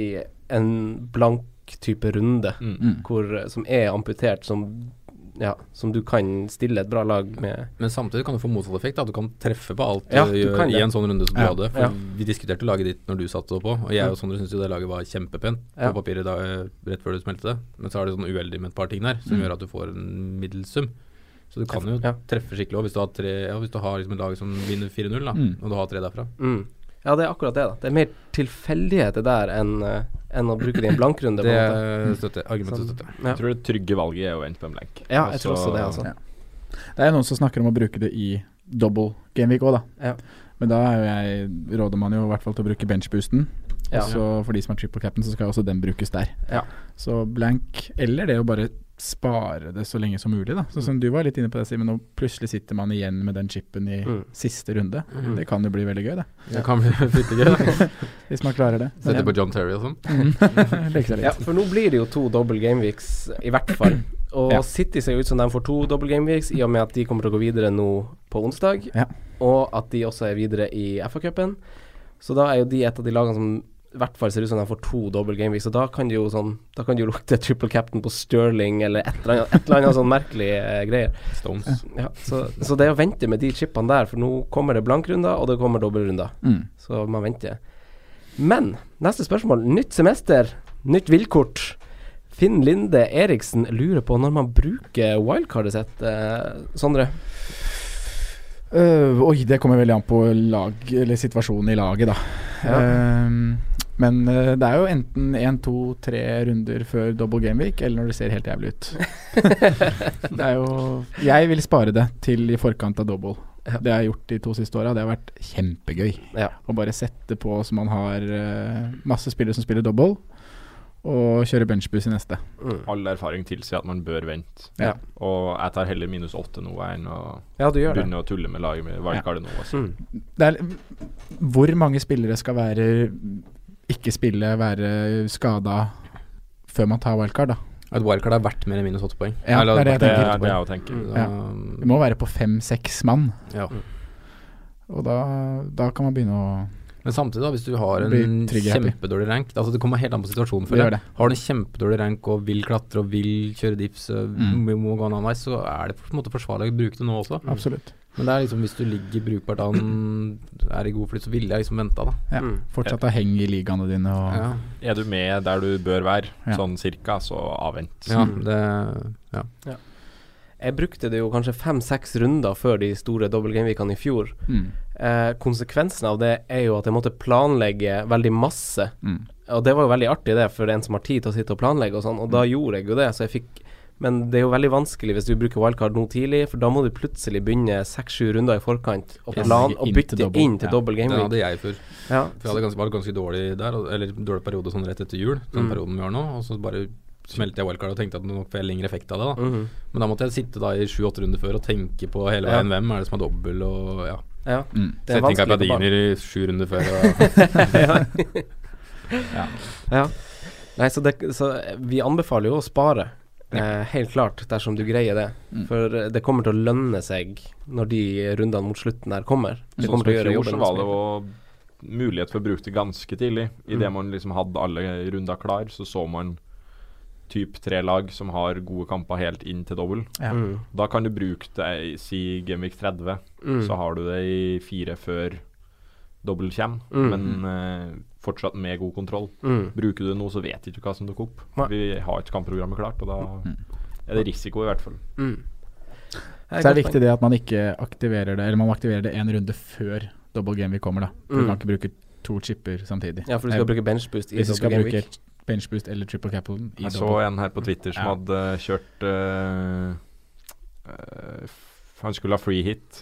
[SPEAKER 3] en blank type runde,
[SPEAKER 5] Mm.
[SPEAKER 3] hvor, eh, som er amputert, som, ja, som du kan stille et bra lag med.
[SPEAKER 2] Men samtidig kan du få motsatt effekt. Da. Du kan treffe på alt
[SPEAKER 3] Ja,
[SPEAKER 2] du
[SPEAKER 3] du
[SPEAKER 2] gjør
[SPEAKER 3] kan det.
[SPEAKER 2] i en sånn runde som du
[SPEAKER 6] Ja,
[SPEAKER 2] hadde. For
[SPEAKER 3] ja. Mm.
[SPEAKER 2] Vi diskuterte laget ditt når du satte det på, og jeg og Sondre syntes jo det laget var kjempepent
[SPEAKER 3] Ja.
[SPEAKER 2] på papiret da, eh, rett før du smelte det. Men så er det sånn uheldig med et par ting der som gjør at du får en middelsum. Så du kan jo
[SPEAKER 3] Mm. Ja.
[SPEAKER 2] treffe skikkelig òg, hvis du har, tre, ja, hvis du har liksom et lag som vinner 4-0, da,
[SPEAKER 6] Mm.
[SPEAKER 2] og du har tre derfra.
[SPEAKER 3] Mm. Ja, det er akkurat det, da. Det er mer tilfeldighet det der enn eh, enn å bruke det i en blankrunde. på
[SPEAKER 2] Det
[SPEAKER 3] en måte.
[SPEAKER 2] støtter argumentet
[SPEAKER 3] Sånn.
[SPEAKER 2] støtter.
[SPEAKER 3] Ja.
[SPEAKER 5] Jeg tror det trygge valget er å vente på en blank.
[SPEAKER 3] Ja, jeg tror også det, altså.
[SPEAKER 6] Ja. Det er jo noen som snakker om å bruke det i double gameweek òg, da.
[SPEAKER 3] Ja.
[SPEAKER 6] Men da er jo jeg, råder man jo i hvert fall til å bruke benchboosten.
[SPEAKER 3] Ja.
[SPEAKER 6] Og så for de som er triple cap'n, så skal også den brukes der.
[SPEAKER 3] Ja.
[SPEAKER 6] Så blank, eller det å bare spare det så lenge som mulig, da.
[SPEAKER 3] Mm.
[SPEAKER 6] Sånn som du var litt inne på det, Simen, og plutselig sitter man igjen med den chipen i
[SPEAKER 3] Mm.
[SPEAKER 6] siste runde.
[SPEAKER 2] Mm.
[SPEAKER 6] Det kan jo bli veldig gøy,
[SPEAKER 3] <laughs>
[SPEAKER 6] det.
[SPEAKER 2] Det kan bli <laughs> fryktelig gøy. da.
[SPEAKER 6] <laughs> Hvis man klarer det.
[SPEAKER 2] Sette på John Terry og sånn.
[SPEAKER 6] <laughs> Leke seg litt.
[SPEAKER 3] Ja, for nå blir det jo to double gameweeks, i hvert
[SPEAKER 6] <clears throat>
[SPEAKER 3] fall. Og
[SPEAKER 6] Ja.
[SPEAKER 3] City ser jo ut som de får to double gameweeks, i og med at de kommer til å gå videre nå på onsdag.
[SPEAKER 6] Ja.
[SPEAKER 3] Og at de også er videre i FA-cupen. Så da er jo de et av de lagene som i hvert fall ser ut som de får to double gameweeks. Og da kan det jo sånn Da kan det jo lukte triple captain på Sterling, eller et eller annet, et eller annet sånn merkelig eh, greier.
[SPEAKER 2] Stones.
[SPEAKER 3] Ja, så, så det å vente med de chipene der, for nå kommer det blankrunder, og det kommer dobbeltrunder.
[SPEAKER 6] Mm.
[SPEAKER 3] Så man venter. Men neste spørsmål. Nytt semester, nytt villkort. Finn Linde Eriksen lurer på når man bruker wildcardet sitt, eh, Sondre.
[SPEAKER 6] Øh, oi, det kommer veldig an på lag, eller situasjonen i laget, da.
[SPEAKER 3] Ja.
[SPEAKER 6] Ehm, men øh, det er jo enten én, to, tre runder før double gameweek, eller når det ser helt jævlig
[SPEAKER 3] <laughs>
[SPEAKER 6] ut. det er jo Jeg vil spare det til i forkant av double. Det jeg har gjort de to siste åra, det har vært kjempegøy.
[SPEAKER 3] Ja.
[SPEAKER 6] Å bare sette på så man har øh, masse spillere som spiller double, og kjøre benchbus i neste.
[SPEAKER 5] All erfaring tilsier at man bør vente.
[SPEAKER 6] Ja.
[SPEAKER 5] Og jeg tar heller minus åtte nå enn å
[SPEAKER 3] Ja, du gjør det.
[SPEAKER 5] begynne å tulle med laget med wildcardet nå. Altså.
[SPEAKER 3] Mm.
[SPEAKER 6] det er, hvor mange spillere skal være ikke spille, være skada før man tar wildcard, da.
[SPEAKER 2] At wildcard er verdt mer enn minus åtte poeng.
[SPEAKER 6] Ja, det
[SPEAKER 2] Eller Mm.
[SPEAKER 6] er det jeg
[SPEAKER 2] verdt-
[SPEAKER 6] tenker. Ja.
[SPEAKER 2] Da-
[SPEAKER 6] Vi må være på fem-seks mann.
[SPEAKER 2] Ja.
[SPEAKER 6] Og da, da kan man begynne å
[SPEAKER 2] Men samtidig, da, hvis du har en
[SPEAKER 6] Blir trigger happy.
[SPEAKER 2] kjempedårlig rank altså Det kommer helt an på situasjonen.
[SPEAKER 6] Det
[SPEAKER 2] føler
[SPEAKER 6] gjør
[SPEAKER 2] jeg. Har du en kjempedårlig rank og vil klatre og vil kjøre dips, øh,
[SPEAKER 6] Mm.
[SPEAKER 2] må- må gå en annen vei, så er det på en måte forsvarlig å bruke det nå også.
[SPEAKER 6] Absolutt.
[SPEAKER 2] Men det er liksom hvis du ligger brukbart an, er i god flyt, så ville jeg liksom venta, da.
[SPEAKER 6] ja, fortsatt ha heng i ligaene dine og
[SPEAKER 2] Ja.
[SPEAKER 5] Er du med der du bør være,
[SPEAKER 6] Ja. Mm.
[SPEAKER 5] sånn cirka, så avvent.
[SPEAKER 2] Ja, det Ja.
[SPEAKER 3] Ja. Jeg brukte det jo kanskje fem-seks runder før de store double game-weekene i fjor.
[SPEAKER 6] Mm.
[SPEAKER 3] Eh, konsekvensen av det er jo at jeg måtte planlegge veldig masse.
[SPEAKER 6] Mm.
[SPEAKER 3] Og det var jo veldig artig det for en som har tid til å sitte og planlegge og sånn, og da gjorde jeg jo det. Så jeg fikk Men det er jo veldig vanskelig hvis du bruker wildcard nå tidlig, for da må du plutselig begynne seks-sju runder i forkant og,
[SPEAKER 2] Ja.
[SPEAKER 3] plan, og
[SPEAKER 2] Inn til
[SPEAKER 3] bytte
[SPEAKER 2] double.
[SPEAKER 3] inn til
[SPEAKER 2] Ja.
[SPEAKER 3] double game
[SPEAKER 2] Den
[SPEAKER 3] week.
[SPEAKER 2] hadde jeg før.
[SPEAKER 3] Ja.
[SPEAKER 2] For jeg hadde ganske, var ganske dårlig der, og- eller dårlig periode sånn rett etter jul, den
[SPEAKER 3] Mm.
[SPEAKER 2] perioden vi har nå. Og så bare smelte jeg wildcard og tenkte at nå får jeg lengre effekt av det. da
[SPEAKER 3] Mhm.
[SPEAKER 2] Men da måtte jeg sitte da i sju-åtte runder før og tenke på hele
[SPEAKER 3] Ja.
[SPEAKER 2] veien hvem er det som er dobbel, og ja.
[SPEAKER 3] Ja.
[SPEAKER 6] Mm.
[SPEAKER 3] Det er
[SPEAKER 2] Setting
[SPEAKER 3] vanskelig på
[SPEAKER 2] gardiner i sju runder før. Og
[SPEAKER 3] ja. Nei, så, det, så eh, vi anbefaler jo å spare. Eh, helt klart, dersom du greier det. For eh, det kommer til å lønne seg når de rundene mot slutten her kommer. Det
[SPEAKER 5] Sånn
[SPEAKER 3] kommer
[SPEAKER 5] som
[SPEAKER 3] til
[SPEAKER 5] i
[SPEAKER 3] å gjøre
[SPEAKER 5] fjor, så
[SPEAKER 3] jobben.
[SPEAKER 5] var det jo mulighet for å bruke det ganske tidlig. Idet man liksom hadde alle runder klar, så så man typ tre lag som har gode kamper helt inn til double.
[SPEAKER 6] Ja.
[SPEAKER 3] Mm.
[SPEAKER 5] Da kan du bruke det i si Gameweek 30,
[SPEAKER 3] Mm.
[SPEAKER 5] så har du det i fire før double kommer,
[SPEAKER 3] Mm.
[SPEAKER 5] men eh, fortsatt med god kontroll.
[SPEAKER 3] Mm.
[SPEAKER 5] Bruker du det nå, så vet ikke du hva som dukker opp.
[SPEAKER 3] Nei.
[SPEAKER 5] Vi har ikke kampprogrammet klart, og da er det risiko, i hvert fall.
[SPEAKER 3] Mm.
[SPEAKER 6] Så er det viktig det at man ikke aktiverer det Eller man aktiverer det en runde før double game vi kommer, da. For
[SPEAKER 3] Mm.
[SPEAKER 6] Du kan ikke bruke to chipper samtidig.
[SPEAKER 3] Ja,
[SPEAKER 6] Eh,
[SPEAKER 3] for du skal bruke bench boost i
[SPEAKER 6] Hvis du
[SPEAKER 3] double
[SPEAKER 6] skal
[SPEAKER 3] game
[SPEAKER 6] bruke
[SPEAKER 3] week.
[SPEAKER 6] bench boost eller triple capitalen i
[SPEAKER 5] Jeg så
[SPEAKER 6] double.
[SPEAKER 5] en her på Twitter som
[SPEAKER 6] Ja.
[SPEAKER 5] hadde kjørt eh, eh, f- Han skulle ha free hit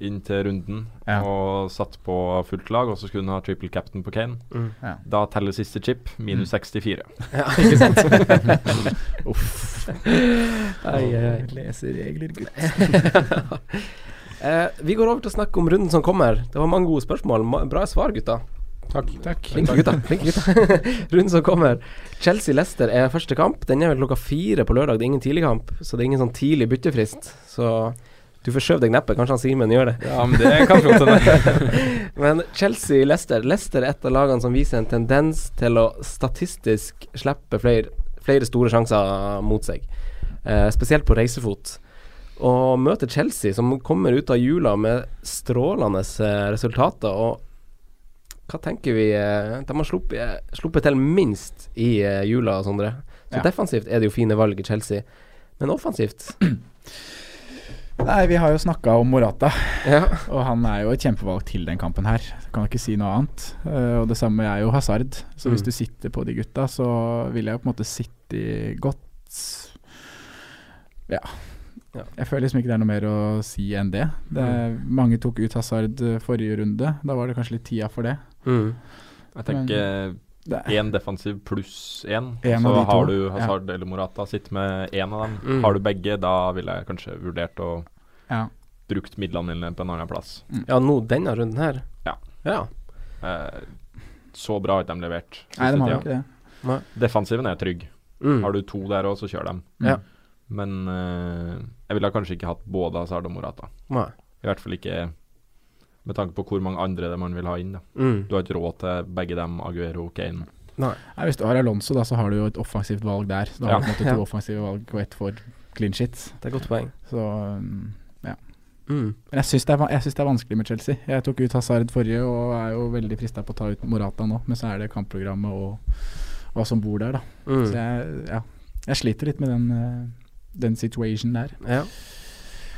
[SPEAKER 5] inn til runden
[SPEAKER 6] Ja.
[SPEAKER 5] og satt på fullt lag, og så skulle han ha triple captain på Kane.
[SPEAKER 3] Mm.
[SPEAKER 6] Ja. Mm.
[SPEAKER 5] Da teller siste chip, minus 64.
[SPEAKER 3] Ja. <laughs>
[SPEAKER 6] Ikke sant? Uff.
[SPEAKER 3] Ai, ai, ai.
[SPEAKER 6] Leser regler, gutt.
[SPEAKER 3] <laughs> eh, vi går over til å snakke om runden som kommer. Det var mange gode spørsmål. Ma bra svar, gutta.
[SPEAKER 2] Takk.
[SPEAKER 6] Takk.
[SPEAKER 3] Flinke gutter. Flinke gutter. <laughs> runden som kommer. Chelsea-Lester er første kamp. Den er vel klokka fire på lørdag. Det er ingen tidligkamp, så det er ingen sånn tidlig byttefrist. Så du forskjøv deg neppe. Kanskje han Simen gjør det.
[SPEAKER 2] ja, men det kan fort
[SPEAKER 5] <laughs>
[SPEAKER 2] hende.
[SPEAKER 3] Men Chelsea-Lester Lester er et av lagene som viser en tendens til å statistisk slippe flere, flere store sjanser mot seg. Eh, spesielt på reisefot. Og møter Chelsea, som kommer ut av jula med strålende eh, resultater. Og hva tenker vi eh, De har sluppet, eh, sluppet til minst i eh, jula, Sondre. Så
[SPEAKER 6] Ja.
[SPEAKER 3] defensivt er det jo fine valg i Chelsea, men offensivt
[SPEAKER 5] <coughs>
[SPEAKER 6] Nei, vi har jo snakka om Morata,
[SPEAKER 3] Ja.
[SPEAKER 6] og han er jo et kjempevalg til den kampen her. Kan ikke si noe annet. Eh, og det samme er jo Hazard. Så hvis
[SPEAKER 3] Mm.
[SPEAKER 6] du sitter på de gutta, så vil jeg jo på en måte sitte i godt Ja.
[SPEAKER 3] Ja. Mm.
[SPEAKER 6] Jeg føler liksom ikke det er noe mer å si enn det. det mange tok ut Hazard eh, forrige runde. Da var det kanskje litt tida for det.
[SPEAKER 3] Mm.
[SPEAKER 5] Jeg tenker
[SPEAKER 6] det er-
[SPEAKER 5] én defensiv pluss én.
[SPEAKER 6] En
[SPEAKER 5] Så
[SPEAKER 6] av de
[SPEAKER 5] har
[SPEAKER 6] to,
[SPEAKER 5] du
[SPEAKER 6] ja.
[SPEAKER 5] Hazard eller Morata, sitt med én av dem.
[SPEAKER 3] Mm.
[SPEAKER 5] Har du begge, da ville jeg kanskje vurdert å
[SPEAKER 6] Ja.
[SPEAKER 5] brukt midlene mine på en annen plass.
[SPEAKER 3] Ja, nå denne runden her.
[SPEAKER 5] Ja.
[SPEAKER 3] ja.
[SPEAKER 5] Eh, så bra har ikke de levert.
[SPEAKER 6] Nei, de
[SPEAKER 5] siste
[SPEAKER 6] har jo
[SPEAKER 5] tida.
[SPEAKER 6] ikke det.
[SPEAKER 5] Defensiven er trygg.
[SPEAKER 3] Mm.
[SPEAKER 5] Har du to der òg, så kjør dem.
[SPEAKER 3] Ja.
[SPEAKER 5] Men eh, jeg ville kanskje ikke hatt både Hazard og Morata.
[SPEAKER 3] Nei.
[SPEAKER 5] I hvert fall ikke med tanke på hvor mange andre det man vil ha inn. Da.
[SPEAKER 3] Mm.
[SPEAKER 5] Du har ikke råd til begge dem, Aguero og Kane.
[SPEAKER 6] Nei, hvis du har Alonso, da, så har du jo et offensivt valg der. Så da har du på en måte
[SPEAKER 3] Ja.
[SPEAKER 6] to offensive valg og ett for clean shit.
[SPEAKER 3] Det er et godt poeng.
[SPEAKER 6] Så mm,
[SPEAKER 3] Mm.
[SPEAKER 6] Men jeg syns det, er van- jeg syns det er vanskelig med Chelsea. Jeg tok ut Hazard forrige og er jo veldig frista på å ta ut Morata nå, men så er det kampprogrammet og hva som bor der, da.
[SPEAKER 3] Mm.
[SPEAKER 6] Så jeg, ja, jeg sliter litt med den, eh, den situationen der.
[SPEAKER 3] Ja.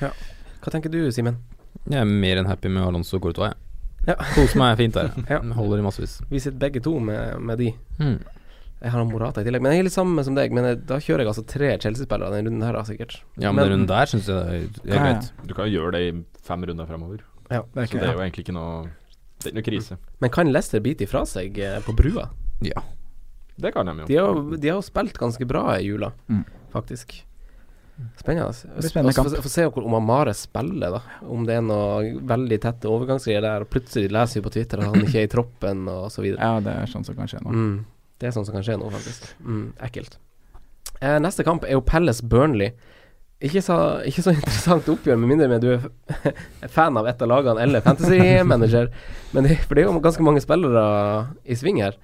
[SPEAKER 3] ja. Hva tenker du, Simen?
[SPEAKER 2] Jeg er mer enn happy med Alonso Courtois, jeg.
[SPEAKER 3] Ja.
[SPEAKER 2] Koser meg fint
[SPEAKER 5] <laughs>
[SPEAKER 2] der.
[SPEAKER 3] Ja.
[SPEAKER 2] jeg. Holder i massevis.
[SPEAKER 3] Vi sitter begge to med, med de.
[SPEAKER 2] Mm.
[SPEAKER 3] Jeg har en Morata i tillegg, men jeg er litt samme som deg. Men jeg, da kjører jeg altså tre Chelsea-spillere denne runden her, da, sikkert.
[SPEAKER 2] Ja, men, den runden der syns jeg det er
[SPEAKER 6] Ja, ja.
[SPEAKER 2] greit.
[SPEAKER 5] Du kan jo gjøre det i fem runder fremover.
[SPEAKER 3] Ja.
[SPEAKER 6] Det er
[SPEAKER 5] Så
[SPEAKER 6] ikke,
[SPEAKER 5] det er jo egentlig ikke noe Det er ikke noe krise.
[SPEAKER 3] Men kan Leicester bite ifra seg eh, på brua?
[SPEAKER 2] Ja.
[SPEAKER 5] Det kan de jo.
[SPEAKER 3] De har, jo- de har jo spilt ganske bra i jula,
[SPEAKER 6] Mm.
[SPEAKER 3] faktisk. Spennende. altså.
[SPEAKER 6] Det blir spennende kamp.
[SPEAKER 3] Få få se hvor- om Amare spiller, da. Om det er noe veldig tette overgangsgreier der. og Plutselig leser vi på Twitter at han ikke er i troppen, og så videre.
[SPEAKER 6] Ja, det er sånn som kan skje nå.
[SPEAKER 3] Mm. Det er sånn som kan skje nå, faktisk. Mm, ekkelt. Eh, neste kamp er jo Palace Burnley. Ikke så, ikke så <laughs> interessant oppgjør, med mindre med du er f- <laughs> fan av et av lagene eller
[SPEAKER 6] <laughs>
[SPEAKER 3] fantasy-manager. Men det, for det er jo ganske mange spillere i sving her.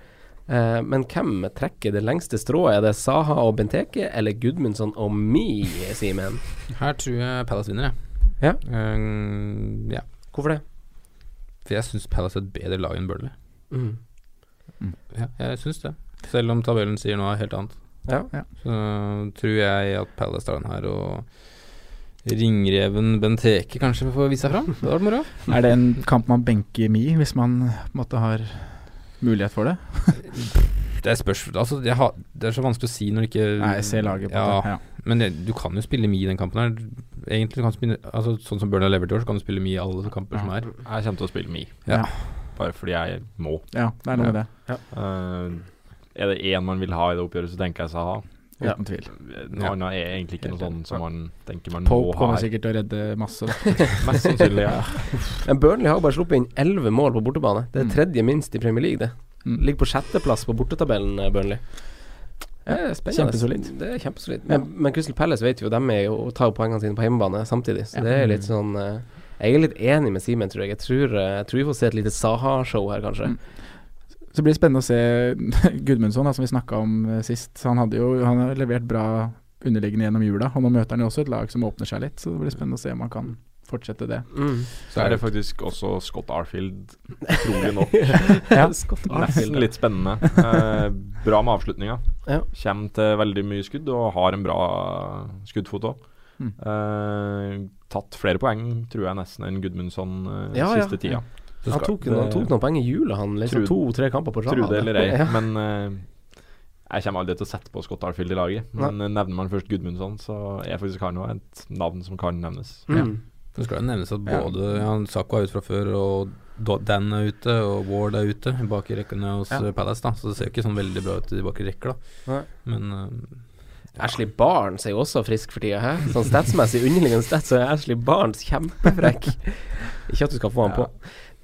[SPEAKER 3] Eh, men hvem trekker det lengste strået? Er det Saha og Benteke eller Gudmundsson og Mi, Simen?
[SPEAKER 2] Her tror jeg Palace vinner, jeg.
[SPEAKER 3] Ja.
[SPEAKER 2] Ehm, ja.
[SPEAKER 3] Hvorfor det?
[SPEAKER 2] For jeg syns Palace er et bedre lag enn Burnley.
[SPEAKER 3] Mm.
[SPEAKER 2] Ja, jeg syns det. Selv om tabellen sier noe helt annet.
[SPEAKER 3] Ja.
[SPEAKER 6] Ja.
[SPEAKER 2] Så Eh, tror jeg at Palace tar den her, og ringreven Benteke kanskje får vise seg fram. Det hadde vært moro.
[SPEAKER 6] <laughs> Er det en kamp man benker Mi, hvis man på en måte har mulighet for det?
[SPEAKER 2] Det spørs altså, jeg har, Det er så vanskelig å si når det ikke
[SPEAKER 6] Nei, jeg ser laget på
[SPEAKER 2] Mm. ja,
[SPEAKER 6] det. Ja.
[SPEAKER 2] Men det, du kan jo spille mye i den kampen her. Egentlig du kan spille altså, Sånn som Burnley og Leverty så kan du spille mye i alle kamper som er.
[SPEAKER 5] Jeg kommer til å spille Mi,
[SPEAKER 2] Ja.
[SPEAKER 5] bare fordi jeg må.
[SPEAKER 6] ja, det er noe med det.
[SPEAKER 5] Eh, er det én man vil ha i det oppgjøret, så tenker jeg Saha.
[SPEAKER 3] Ja.
[SPEAKER 6] Uten tvil.
[SPEAKER 5] Noe
[SPEAKER 2] Ja.
[SPEAKER 5] annet er egentlig ikke noe
[SPEAKER 6] Helt
[SPEAKER 5] sånn
[SPEAKER 6] enig.
[SPEAKER 5] som man tenker man må
[SPEAKER 6] Pope
[SPEAKER 5] ha.
[SPEAKER 6] kommer sikkert til å redde
[SPEAKER 2] <laughs>
[SPEAKER 6] masse. Da.
[SPEAKER 5] Mest sannsynlig, ja.
[SPEAKER 3] Men Burnley har jo bare sluppet inn elleve mål på bortebane. Det er
[SPEAKER 6] Mm.
[SPEAKER 3] tredje minst i Premier League, det.
[SPEAKER 6] <laughs> Mm.
[SPEAKER 3] Ligger på sjetteplass på bortetabellen, eh, Burnley. Det
[SPEAKER 6] eh,
[SPEAKER 3] er spennende.
[SPEAKER 6] kjempesolid.
[SPEAKER 3] Det er kjempesolid. Men, men Crystal Palace vet jo, de er jo, tar jo poengene sine på hjemmebane samtidig, så
[SPEAKER 6] Ja.
[SPEAKER 3] det er litt sånn eh, Jeg er litt enig med Simen, tror jeg. Jeg tror, eh, jeg tror vi får se et lite Saha-show her, kanskje.
[SPEAKER 6] Mm. Så blir det spennende å se <laughs> Gudmundsson, da, som vi snakka om eh, sist. Han, hadde jo, han har levert bra underliggende gjennom jula, og nå møter han jo også et lag som åpner seg litt. Så det blir spennende å se om han kan fortsette det.
[SPEAKER 3] Mm.
[SPEAKER 5] Så er det faktisk også Scott Arfield, trolig nok.
[SPEAKER 6] <laughs> Ja.
[SPEAKER 3] Scott
[SPEAKER 5] Nesten
[SPEAKER 3] Arfield.
[SPEAKER 5] litt spennende. Eh, bra med avslutninga.
[SPEAKER 3] Ja.
[SPEAKER 5] Kjem til veldig mye skudd, og har en bra skuddfot òg.
[SPEAKER 6] Mm.
[SPEAKER 5] tatt flere poeng, tror jeg, nesten enn Gudmundsson eh,
[SPEAKER 3] Ja, ja.
[SPEAKER 5] siste tida.
[SPEAKER 3] Han tok, noen- han tok noen poeng i jula, han. Liksom
[SPEAKER 5] Trude-
[SPEAKER 3] To-tre kamper på rad.
[SPEAKER 5] Tro det eller ei,
[SPEAKER 3] Ja.
[SPEAKER 5] men eh, jeg kommer aldri til å sette på Scott Arfield i laget. Men eh, nevner man først Gudmundsson, så er faktisk Karno et navn som kan nevnes.
[SPEAKER 3] Mm.
[SPEAKER 2] Det skal jo nevnes at både ja. Sako er ute fra før, og Da- Dan er ute, og Ward er ute bak i rekkene hos eh, Palace, da. Så det ser jo ikke sånn veldig bra ut i bak i rekker, da.
[SPEAKER 3] Nei.
[SPEAKER 2] Men eh,
[SPEAKER 3] Ashley Barnes er jo også frisk for tida, hæ? Sånn statsmessig underliggende stats så er Ashley Barnes kjempefrekk. Ikke at du skal få han på.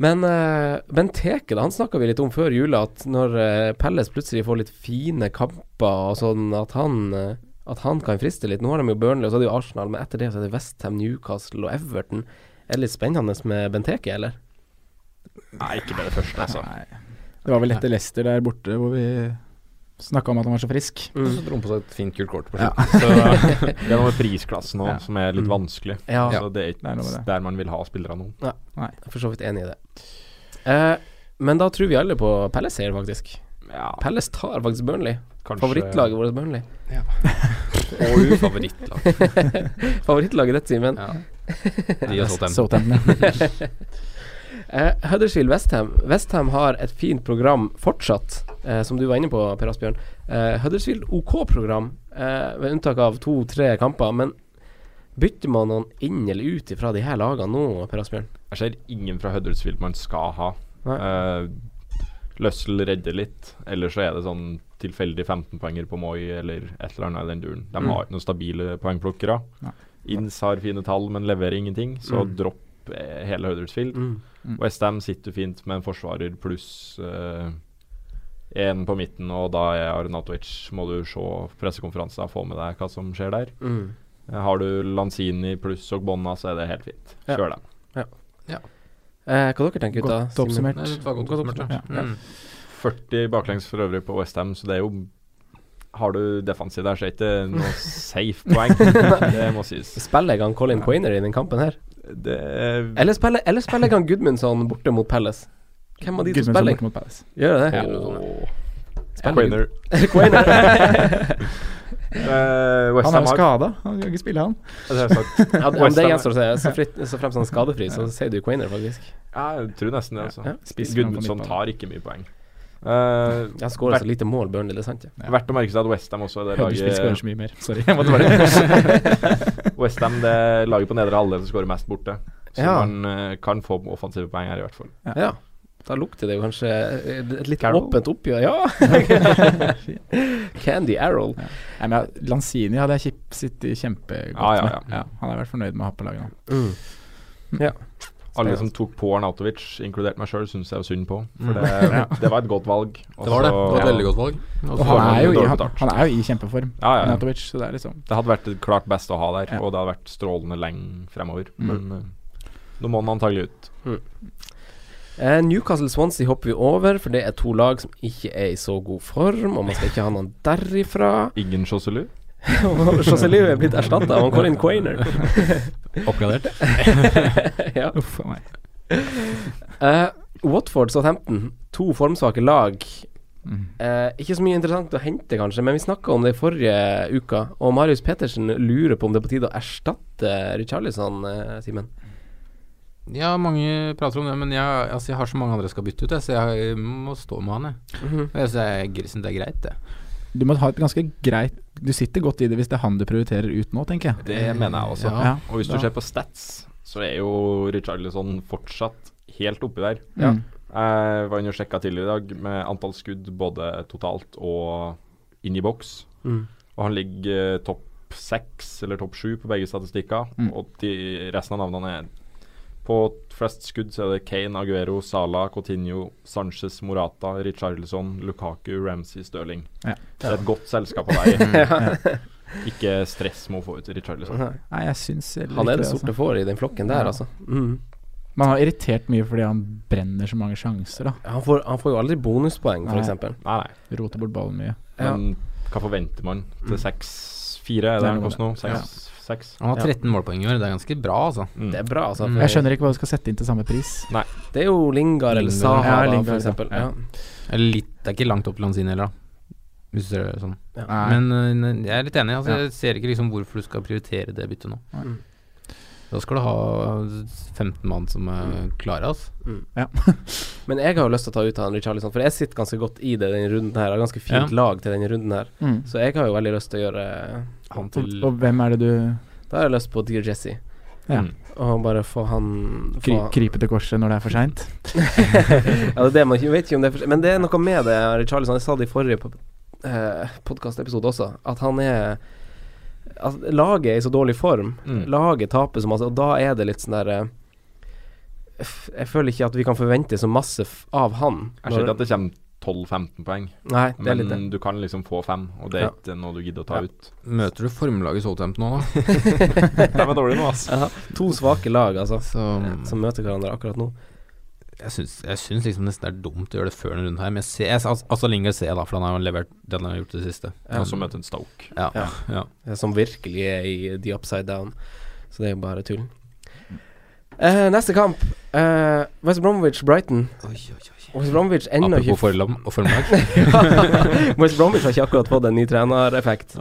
[SPEAKER 3] Men eh, Benteke, da, han snakka vi litt om før jula, at når eh, Pelles plutselig får litt fine kamper og sånn, at han eh, at han kan friste litt. Nå har de jo Burnley, og så er det jo Arsenal, men etter det så er det Westham, Newcastle og Everton. Er det litt spennende med Benteke, eller?
[SPEAKER 5] Nei, ikke med det første, altså.
[SPEAKER 6] Nei. Det var vel etter Leicester der borte hvor vi snakka om at han var så frisk.
[SPEAKER 2] Og så dro han på seg et fint, kult kort på
[SPEAKER 6] Ja.
[SPEAKER 2] slutten.
[SPEAKER 5] Så, det er noe med prisklassen òg
[SPEAKER 6] Ja. Mm.
[SPEAKER 5] som er litt vanskelig.
[SPEAKER 3] Ja.
[SPEAKER 5] Så det er
[SPEAKER 6] Det er noe med
[SPEAKER 5] ikke
[SPEAKER 6] det.
[SPEAKER 5] der man vil ha spillere nå.
[SPEAKER 3] Jeg er for så vidt enig i det. Eh, men da tror vi alle på Pelles-seier, faktisk.
[SPEAKER 5] Ja,
[SPEAKER 3] Pelles tar faktisk Burnley.
[SPEAKER 5] kanskje-
[SPEAKER 3] Favorittlaget vårt, Burnley.
[SPEAKER 2] Og
[SPEAKER 3] <laughs>
[SPEAKER 2] favorittlag.
[SPEAKER 3] Favorittlaget ditt, Simen.
[SPEAKER 2] Ja. De har solgt dem.
[SPEAKER 6] Southampton, ja.
[SPEAKER 3] <laughs> Eh, Huddersfield Westham. Westham har et fint program fortsatt, eh, som du var inne på, Per Asbjørn. Eh, Huddersfield OK-program, eh, ved unntak av to-tre kamper. Men bytter man noen inn eller ut ifra de her lagene nå, Per Asbjørn?
[SPEAKER 5] Jeg ser ingen fra Huddersfield man skal ha.
[SPEAKER 3] Nei.
[SPEAKER 5] Uh, Løssel redder litt, eller så er det sånn tilfeldig 15-poenger på Moi eller et eller annet i den duren. De
[SPEAKER 3] Mm.
[SPEAKER 5] har ikke noen stabile poengplukkere.
[SPEAKER 6] Nei.
[SPEAKER 5] Inns har fine tall, men leverer ingenting, så
[SPEAKER 3] Mm.
[SPEAKER 5] dropp eh, hele Huddersfield.
[SPEAKER 3] Mm.
[SPEAKER 5] Westham sitter fint med en forsvarer pluss eh, en på midten, og da er Arnatovic Må du se pressekonferansen og få med deg hva som skjer der.
[SPEAKER 3] Mm.
[SPEAKER 5] Eh, Har du Lanzini pluss Ogbonna, så er det helt fint.
[SPEAKER 3] Ja.
[SPEAKER 5] Kjør dem.
[SPEAKER 3] Eh, hva dere tenker gutta?
[SPEAKER 6] Godt oppsummert.
[SPEAKER 2] Nei, det var godt
[SPEAKER 3] Godt
[SPEAKER 2] oppsummert, ja.
[SPEAKER 3] ja.
[SPEAKER 2] Mm.
[SPEAKER 5] 40 baklengs for øvrig på Westham, så det er jo Har du defensiv der, så er det
[SPEAKER 3] <laughs>
[SPEAKER 5] ikke noe safe poeng. det må sies.
[SPEAKER 3] Spiller jeg han Colin Poiner i den kampen her?
[SPEAKER 5] Det er
[SPEAKER 3] Eller spiller, eller spiller jeg han Gudmundsson borte mot Pelles? Hvem av de som
[SPEAKER 6] Gudmundsson
[SPEAKER 3] spiller?
[SPEAKER 6] borte mot Palace.
[SPEAKER 3] Gjør jeg det?
[SPEAKER 5] Quainer.
[SPEAKER 3] <laughs>
[SPEAKER 5] Eh, West
[SPEAKER 6] Han er
[SPEAKER 5] Ham
[SPEAKER 6] jo
[SPEAKER 5] har
[SPEAKER 6] skada, han kan ikke spille, han.
[SPEAKER 5] det har jeg sagt.
[SPEAKER 3] Ja, om det
[SPEAKER 5] Westham-
[SPEAKER 3] gjenstår å se. <laughs> Så, fritt, så fremst han er skadefri, så sier du Quainer, faktisk.
[SPEAKER 5] Jeg tror nesten det, altså.
[SPEAKER 3] Ja.
[SPEAKER 6] Spissen han på
[SPEAKER 5] Gudmundsson
[SPEAKER 6] midtbanen.
[SPEAKER 5] tar ikke mye poeng. Eh,
[SPEAKER 3] Han skårer så lite mål, Burnley, det er sant? Ja.
[SPEAKER 6] Ja.
[SPEAKER 5] Verdt å merke seg at Westham også er det
[SPEAKER 6] Huddersfield skårer
[SPEAKER 5] laget
[SPEAKER 6] så mye mer. Sorry. Jeg måtte <laughs> bare
[SPEAKER 5] <laughs>
[SPEAKER 3] <laughs>
[SPEAKER 5] Westham det laget på nedre halvdel som skårer mest borte. Så
[SPEAKER 3] Ja.
[SPEAKER 5] man eh, kan få offensive poeng her, i hvert fall.
[SPEAKER 3] Ja. Da lukter det jo kanskje eh, et litt åpent oppgjør. Ja! <laughs> Candy Arrow.
[SPEAKER 6] Nei, men Lanzini hadde jeg kjip- sittet kjempegodt
[SPEAKER 5] Ja, ja, ja.
[SPEAKER 6] med. Ja, han har vært fornøyd med å ha på laget nå.
[SPEAKER 3] Ja.
[SPEAKER 5] Alle som tok på Arnautovic, inkludert meg sjøl, syns jeg jo synd på.
[SPEAKER 6] Mm.
[SPEAKER 5] For det,
[SPEAKER 6] <laughs> Ja.
[SPEAKER 5] det var et godt valg. Og
[SPEAKER 2] Det var det. Det var et
[SPEAKER 5] så-
[SPEAKER 2] veldig godt valg.
[SPEAKER 5] Og
[SPEAKER 6] Og
[SPEAKER 5] så
[SPEAKER 6] han
[SPEAKER 5] var det
[SPEAKER 6] er, jo i,
[SPEAKER 5] dårlig
[SPEAKER 6] han,
[SPEAKER 5] betalt.
[SPEAKER 6] han er jo i kjempeform,
[SPEAKER 5] Ja, ja, ja.
[SPEAKER 6] Arnautovic, så det er liksom
[SPEAKER 5] Det hadde vært det klart beste å ha der, og det hadde vært strålende lenge fremover.
[SPEAKER 6] Mm.
[SPEAKER 5] Men eh, nå må den antagelig ut.
[SPEAKER 3] Eh, Newcastle-Swansea hopper vi over, for det er to lag som ikke er i så god form, og man skal ikke ha noen derifra.
[SPEAKER 5] Ingen Chausselu?
[SPEAKER 3] <laughs> Og Joselu er blitt erstatta av han Colin Quainer.
[SPEAKER 2] Oppgradert.
[SPEAKER 3] ja.
[SPEAKER 6] Uff a meg.
[SPEAKER 3] Eh, Watford Southampton, to formsvake lag.
[SPEAKER 6] Mm.
[SPEAKER 3] Eh, ikke så mye interessant å hente, kanskje, men vi snakka om det i forrige uke. Og Marius Petersen lurer på om det er på tide å erstatte Richarlison, eh, Simen.
[SPEAKER 2] Ja, mange prater om det, men jeg, altså, jeg har så mange andre jeg skal bytte ut, jeg, så jeg må stå med han, jeg. Jeg syns det er greit, det.
[SPEAKER 6] Du må ha et ganske greit Du sitter godt i det hvis det er han du prioriterer ut nå, tenker jeg.
[SPEAKER 5] Det mener jeg også.
[SPEAKER 2] Ja.
[SPEAKER 6] Mm. Ja.
[SPEAKER 5] Og hvis du
[SPEAKER 6] Ja.
[SPEAKER 5] ser på stats, så er jo Richarlison fortsatt helt oppi der.
[SPEAKER 6] Ja. Mm.
[SPEAKER 5] Jeg var inne og sjekka tidligere i dag med antall skudd både totalt og inn i boks. Og han ligger eh, topp seks eller topp sju på begge statistikker.
[SPEAKER 6] Mm.
[SPEAKER 5] Og de, resten av navnene er På flest skudd så er det Kane, Aguero, Salah, Coutinho, Sanchez, Morata, Richarlison, Lukaku, Ramsey, Stirling.
[SPEAKER 6] Ja. Mm.
[SPEAKER 5] Det er et godt selskap
[SPEAKER 6] <laughs>
[SPEAKER 5] å være i. <laughs> Ikke stress med å få ut Richarlison.
[SPEAKER 6] Nei, jeg syns heller
[SPEAKER 3] Han
[SPEAKER 6] ikke
[SPEAKER 3] er det
[SPEAKER 6] det, altså.
[SPEAKER 3] sorte fåret i den flokken der,
[SPEAKER 6] Ja.
[SPEAKER 3] altså. Mm.
[SPEAKER 6] Man har irritert mye fordi han brenner så mange sjanser, da.
[SPEAKER 3] Han, får, han får jo aldri bonuspoeng,
[SPEAKER 6] Nei.
[SPEAKER 3] f.eks.
[SPEAKER 5] Nei, nei.
[SPEAKER 6] Roter bort ballen mye.
[SPEAKER 3] Ja.
[SPEAKER 5] Men hva forventer man til seks fire? Er
[SPEAKER 6] Mm. Det
[SPEAKER 5] det
[SPEAKER 6] er
[SPEAKER 5] han
[SPEAKER 6] noe
[SPEAKER 5] koster nå?
[SPEAKER 6] med det.
[SPEAKER 5] Seks? seks?
[SPEAKER 2] Han har 13 målpoeng i år, det er ganske bra, altså.
[SPEAKER 5] Mm.
[SPEAKER 3] Det er bra, altså.
[SPEAKER 2] Mm.
[SPEAKER 3] for
[SPEAKER 6] Jeg skjønner ikke hva du skal sette inn til samme pris.
[SPEAKER 3] Det er jo Lingard eller
[SPEAKER 2] Lingard.
[SPEAKER 3] Saha,
[SPEAKER 6] Ja,
[SPEAKER 3] da,
[SPEAKER 6] Lingard,
[SPEAKER 3] for eksempel.
[SPEAKER 6] ja.
[SPEAKER 3] Ja.
[SPEAKER 2] Eller Litt, det er ikke langt opp til Lanzini heller, da. Hvis du ser det sånn.
[SPEAKER 6] Nei.
[SPEAKER 2] Men øh, jeg er litt enig. Altså,
[SPEAKER 6] Ja.
[SPEAKER 2] Jeg ser ikke liksom hvorfor du skal prioritere det byttet nå.
[SPEAKER 6] Nei.
[SPEAKER 2] Da skal du ha 15 mann som er klare, altså.
[SPEAKER 3] Men jeg har jo lyst til å ta ut han Richarlison, for jeg sitter ganske godt i det denne runden her. Har ganske fint
[SPEAKER 2] Ja.
[SPEAKER 3] lag til denne runden her.
[SPEAKER 6] Mm.
[SPEAKER 3] Så jeg har jo veldig lyst til å gjøre eh,
[SPEAKER 2] Han
[SPEAKER 6] Og,
[SPEAKER 2] til
[SPEAKER 6] og hvem er det du
[SPEAKER 3] Da har jeg lyst på Dear Jesse.
[SPEAKER 6] Ja.
[SPEAKER 5] Mm.
[SPEAKER 3] Og bare få han
[SPEAKER 6] kry,
[SPEAKER 3] få,
[SPEAKER 6] kryper til korset når det er for seint?
[SPEAKER 3] Ja, det er det man ikke- vet ikke om det er for, Men det er noe med det, Richarlison. Jeg sa det i forrige pod- eh, podkastepisode også, at han er At laget er i så dårlig form.
[SPEAKER 5] Mm.
[SPEAKER 3] Laget taper så masse, og da er det litt sånn derre Jeg føler ikke at vi kan forvente så masse f av han.
[SPEAKER 5] Jeg ser
[SPEAKER 3] Når-
[SPEAKER 5] ikke at det kommer 12-15 poeng,
[SPEAKER 3] Nei, det er litt det.
[SPEAKER 5] men du kan liksom få fem, og det er
[SPEAKER 3] Ja.
[SPEAKER 5] ikke noe du gidder å ta
[SPEAKER 3] Ja.
[SPEAKER 5] ut.
[SPEAKER 2] Møter du formlaget Southampton nå, da?
[SPEAKER 5] De er dårlige nå, altså.
[SPEAKER 3] Ja, to svake lag, altså,
[SPEAKER 2] Så mm,
[SPEAKER 3] som møter hverandre akkurat nå.
[SPEAKER 2] jeg syns, jeg syns liksom nesten det er dumt å gjøre det før denne runden her. Men jeg ser, jeg, altså, altså Lingard ser jeg da, for han har jo levert det han har gjort i det siste.
[SPEAKER 5] Og så møte en Stoke.
[SPEAKER 2] Ja,
[SPEAKER 3] Ja.
[SPEAKER 2] ja.
[SPEAKER 3] eh, Som virkelig er i the upside down. Så det er jo bare tull. Eh, neste kamp. eh, West Bromwich-Brighton. West Bromwich ennå ikke
[SPEAKER 2] Apropos forlam og formlag.
[SPEAKER 3] <laughs> West Bromwich har ikke akkurat fått en ny trenereffekt.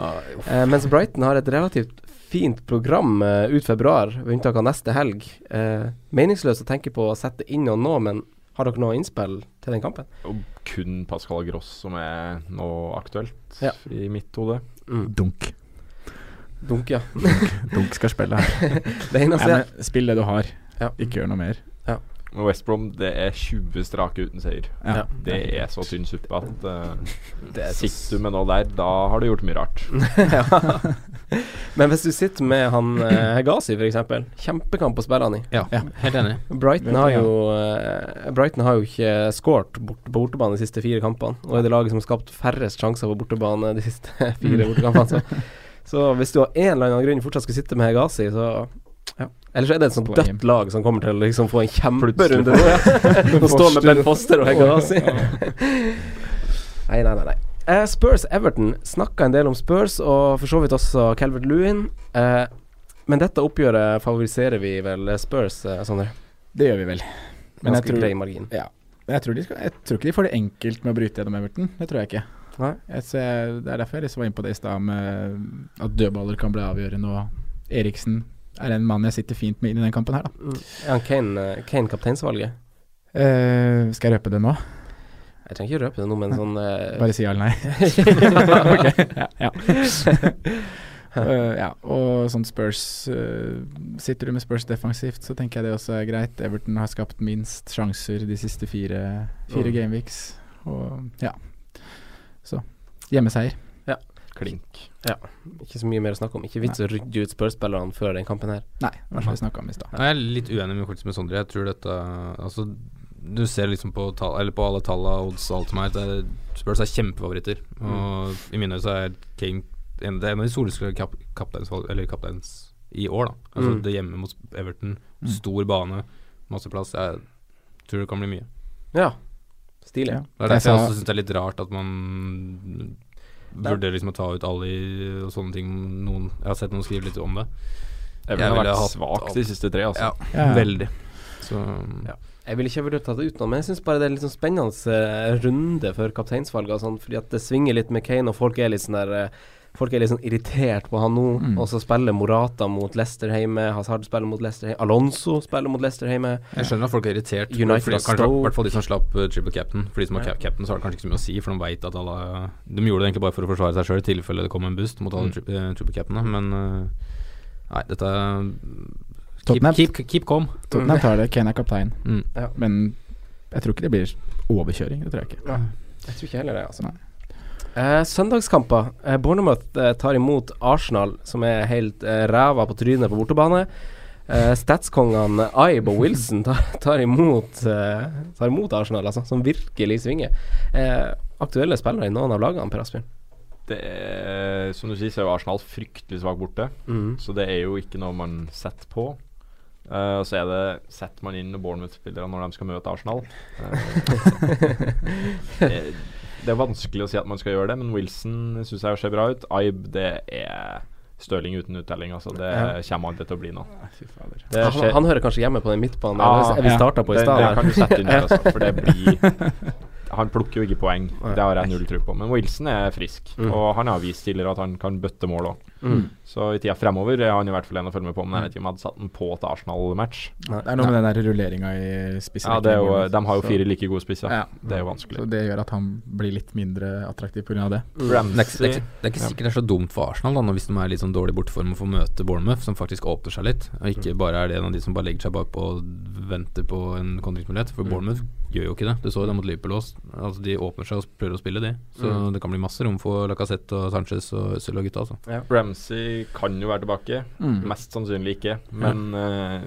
[SPEAKER 3] Eh, mens Brighton har et relativt fint program eh, ut februar, ved unntak av neste helg. Eh, meningsløst å tenke på å sette inn noen nå, men har dere noe innspill til den kampen?
[SPEAKER 5] Og kun Pascal Gross som er nå aktuelt
[SPEAKER 3] Ja.
[SPEAKER 5] i mitt hode.
[SPEAKER 6] Dunk.
[SPEAKER 3] Dunk, ja.
[SPEAKER 6] Dunk skal spille her.
[SPEAKER 3] Det eneste
[SPEAKER 6] Nei, men spill det du har.
[SPEAKER 3] Ja.
[SPEAKER 6] Ikke gjør noe mer.
[SPEAKER 5] Og West Brom det er 20 strake uten seier.
[SPEAKER 6] Ja.
[SPEAKER 5] Det er så tynn suppe at eh,
[SPEAKER 3] det er så
[SPEAKER 5] sitter du med noe der, da har du gjort mye rart.
[SPEAKER 3] <laughs> ja. <laughs> Men hvis du sitter med han eh, Hegazi, for eksempel Kjempekamp å spille han i.
[SPEAKER 2] Ja,
[SPEAKER 6] Ja.
[SPEAKER 2] helt enig.
[SPEAKER 3] Brighton
[SPEAKER 6] Virkelig,
[SPEAKER 3] har jo eh, Brighton har jo ikke skåret bort, på bortebane de siste fire kampene. Og er det laget som har skapt færrest sjanser på bortebane de siste <laughs> fire bortekampene. Så, så hvis du av en eller annen grunn fortsatt skulle sitte med Hegazi, så ja. Eller så er det et sånt
[SPEAKER 6] Poeng.
[SPEAKER 3] dødt lag som kommer til å liksom få en
[SPEAKER 5] Plutselig.
[SPEAKER 3] kjemperunde nå, ja. Å stå med Ben Foster og Hegazi. Nei, nei, nei. nei. Eh, Spurs Everton snakka en del om Spurs, og for så vidt også Calvert Lewin. Eh, men dette oppgjøret favoriserer vi vel Spurs, eh, Sondre?
[SPEAKER 6] Det gjør vi vel. Men jeg
[SPEAKER 3] Ganske
[SPEAKER 6] tror,
[SPEAKER 3] grei margin.
[SPEAKER 6] jeg, tror de skal, jeg tror ikke de får det enkelt med å bryte gjennom Everton. Det tror jeg ikke.
[SPEAKER 3] Nei.
[SPEAKER 6] Jeg ser, det er derfor jeg liksom var inne på det i stad, med at dødballer kan bli avgjørende. Og Eriksen er en mann jeg sitter fint med inn i den kampen her, da.
[SPEAKER 3] Mm. Er han Kane, eh, Kane kapteinsvalget?
[SPEAKER 6] Eh, skal jeg røpe det nå?
[SPEAKER 3] Jeg trenger ikke røpe det nå, men sånn eh,
[SPEAKER 6] <laughs> Bare si ja eller nei.
[SPEAKER 3] ja,
[SPEAKER 6] ok. Ja. Eh, ja, og sånn Spurs eh, Sitter du med Spurs defensivt, så tenker jeg det også er greit. Everton har skapt minst sjanser de siste fire, fire
[SPEAKER 3] Mm.
[SPEAKER 6] gameweeks. Og ja. Så hjemmeseier.
[SPEAKER 3] Ja.
[SPEAKER 5] Klink.
[SPEAKER 3] Ja. Ikke så mye mer å snakke om. Ikke vits å rydde ut Spurs-spillerne før den kampen her.
[SPEAKER 6] Nei, det var det vi snakket om i stad.
[SPEAKER 2] Jeg er litt uenig med, faktisk med Sondre. Jeg tror dette Altså, du ser liksom på, tall, eller på alle tallene, odds og alt som er, at det- Spurs er kjempefavoritter.
[SPEAKER 5] Mm.
[SPEAKER 2] Og i mine øyne så er Kane en, det er en av de soleste kap, kapteins, eller kapteins i år, da. Altså
[SPEAKER 3] Mm.
[SPEAKER 2] det hjemme mot Everton.
[SPEAKER 6] Mm.
[SPEAKER 2] Stor bane, masse plass. Jeg tror det kan bli mye.
[SPEAKER 3] Ja. Stilig.
[SPEAKER 6] Ja.
[SPEAKER 2] Det er
[SPEAKER 6] Jeg
[SPEAKER 2] derfor jeg
[SPEAKER 6] sa-
[SPEAKER 2] også syns det er litt rart at man burde liksom å ta ut Ali og sånne ting. Noen, jeg har sett noen skrive litt om det.
[SPEAKER 5] Everton
[SPEAKER 2] Jeg
[SPEAKER 5] har
[SPEAKER 2] ville
[SPEAKER 5] vært
[SPEAKER 2] hatt
[SPEAKER 5] svak
[SPEAKER 2] alt.
[SPEAKER 5] de siste tre, altså.
[SPEAKER 2] Ja,
[SPEAKER 6] Ja.
[SPEAKER 2] veldig. Så
[SPEAKER 3] Ja. Jeg ville ikke vurdert det utenom, men jeg syns bare det er en litt sånn spennende eh, runde for kapteinsvalget og sånn, fordi at det svinger litt med Kane, og folk er litt sånn der eh, Folk er litt sånn irritert på han nå,
[SPEAKER 6] Mm.
[SPEAKER 3] og så spiller Morata mot Leicester hjemme, Hazard spiller mot Leicester hjemme, Alonso spiller mot Leicester hjemme.
[SPEAKER 2] Jeg skjønner at folk er irritert.
[SPEAKER 3] United
[SPEAKER 2] fordi,
[SPEAKER 3] og
[SPEAKER 2] kanskje,
[SPEAKER 3] Stoke.
[SPEAKER 2] I hvert fall de som slapp eh, triple captain. For de som har
[SPEAKER 3] Ja.
[SPEAKER 2] cap captain, så har det kanskje ikke så mye å si, for de vet at alle De gjorde det egentlig bare for å forsvare seg sjøl, i tilfelle det kom en boost mot alle
[SPEAKER 3] Mm.
[SPEAKER 2] tri eh, triple captainene. Men eh, nei, dette er-
[SPEAKER 6] Tottenham.
[SPEAKER 2] Keep, keep, keep calm.
[SPEAKER 6] Tottenham tar det, Kane er kaptein.
[SPEAKER 2] Mm.
[SPEAKER 6] Men jeg tror ikke det blir overkjøring. Det tror jeg ikke.
[SPEAKER 3] Jeg tror ikke heller det, altså.
[SPEAKER 6] Nei.
[SPEAKER 3] Eh, søndagskamper. Eh, Bournemouth eh, tar imot Arsenal, som er helt eh, ræva på trynet på bortebane. Eh, Statskongene Ibe og Wilson tar, tar, imot, eh, tar imot Arsenal, altså, som virkelig svinger. Eh, aktuelle spillere i noen av lagene, Per Asbjørn?
[SPEAKER 5] Det er, som du sier, så er jo Arsenal fryktelig svak borte.
[SPEAKER 3] Mm.
[SPEAKER 5] Så det er jo ikke noe man setter på. Eh, og så er det setter man inn Bournemouth-spillere når de skal møte Arsenal.
[SPEAKER 3] <laughs>
[SPEAKER 5] Eh, eh, det er vanskelig å si at man skal gjøre det, men Wilson syns jeg ser bra ut. Ibe, det er Stirling uten uttelling, altså. Det kommer aldri til å bli noe.
[SPEAKER 6] Fy fader.
[SPEAKER 5] Det
[SPEAKER 3] Han,
[SPEAKER 5] skjer-
[SPEAKER 3] han hører kanskje hjemme på den midtbanen
[SPEAKER 5] Eh, Ah,
[SPEAKER 3] der, vi
[SPEAKER 6] ja.
[SPEAKER 3] starta på i
[SPEAKER 5] den,
[SPEAKER 3] stad.
[SPEAKER 5] den kan
[SPEAKER 3] der.
[SPEAKER 5] du sette inn der, altså.
[SPEAKER 3] <laughs>
[SPEAKER 5] For det blir Han plukker jo ikke poeng. Det har jeg null tro på. Men Wilson er frisk,
[SPEAKER 3] Mm.
[SPEAKER 5] og han har vist tidligere at han kan bøtte mål òg.
[SPEAKER 3] Mm.
[SPEAKER 5] Så i tida fremover er han i hvert fall en å følge med på, men jeg vet ikke om jeg hadde satt den på til Arsenal-match.
[SPEAKER 6] Det er noe med den der rulleringa i spissen.
[SPEAKER 5] Ja, det er jo, De har jo fire like gode spisser.
[SPEAKER 6] Ja.
[SPEAKER 5] Det er jo
[SPEAKER 6] Så
[SPEAKER 5] vanskelig.
[SPEAKER 6] det gjør at han blir litt mindre attraktiv pga. det.
[SPEAKER 2] Mm. Det er, ikke, det, er
[SPEAKER 5] Ramsey
[SPEAKER 2] ikke, det er ikke sikkert det er så dumt for Arsenal da, når- hvis de er litt sånn dårlig borteform og får møte Bournemouth, som faktisk åpner seg litt, og ikke
[SPEAKER 5] Mm.
[SPEAKER 2] bare er det en av de som bare legger seg bakpå og venter på en kontringsmulighet.
[SPEAKER 5] Mm.
[SPEAKER 2] For Bournemouth gjør jo ikke det. Du så jo det mot Liverpool også. Altså, de åpner seg og prøver å spille, de. Så
[SPEAKER 5] Mm.
[SPEAKER 2] det kan bli masse rom for Lacassette og Sanchez og Øzil og gutta, altså.
[SPEAKER 5] Ramsey kan jo være tilbake.
[SPEAKER 6] Mm.
[SPEAKER 5] Mest sannsynlig ikke, men eh,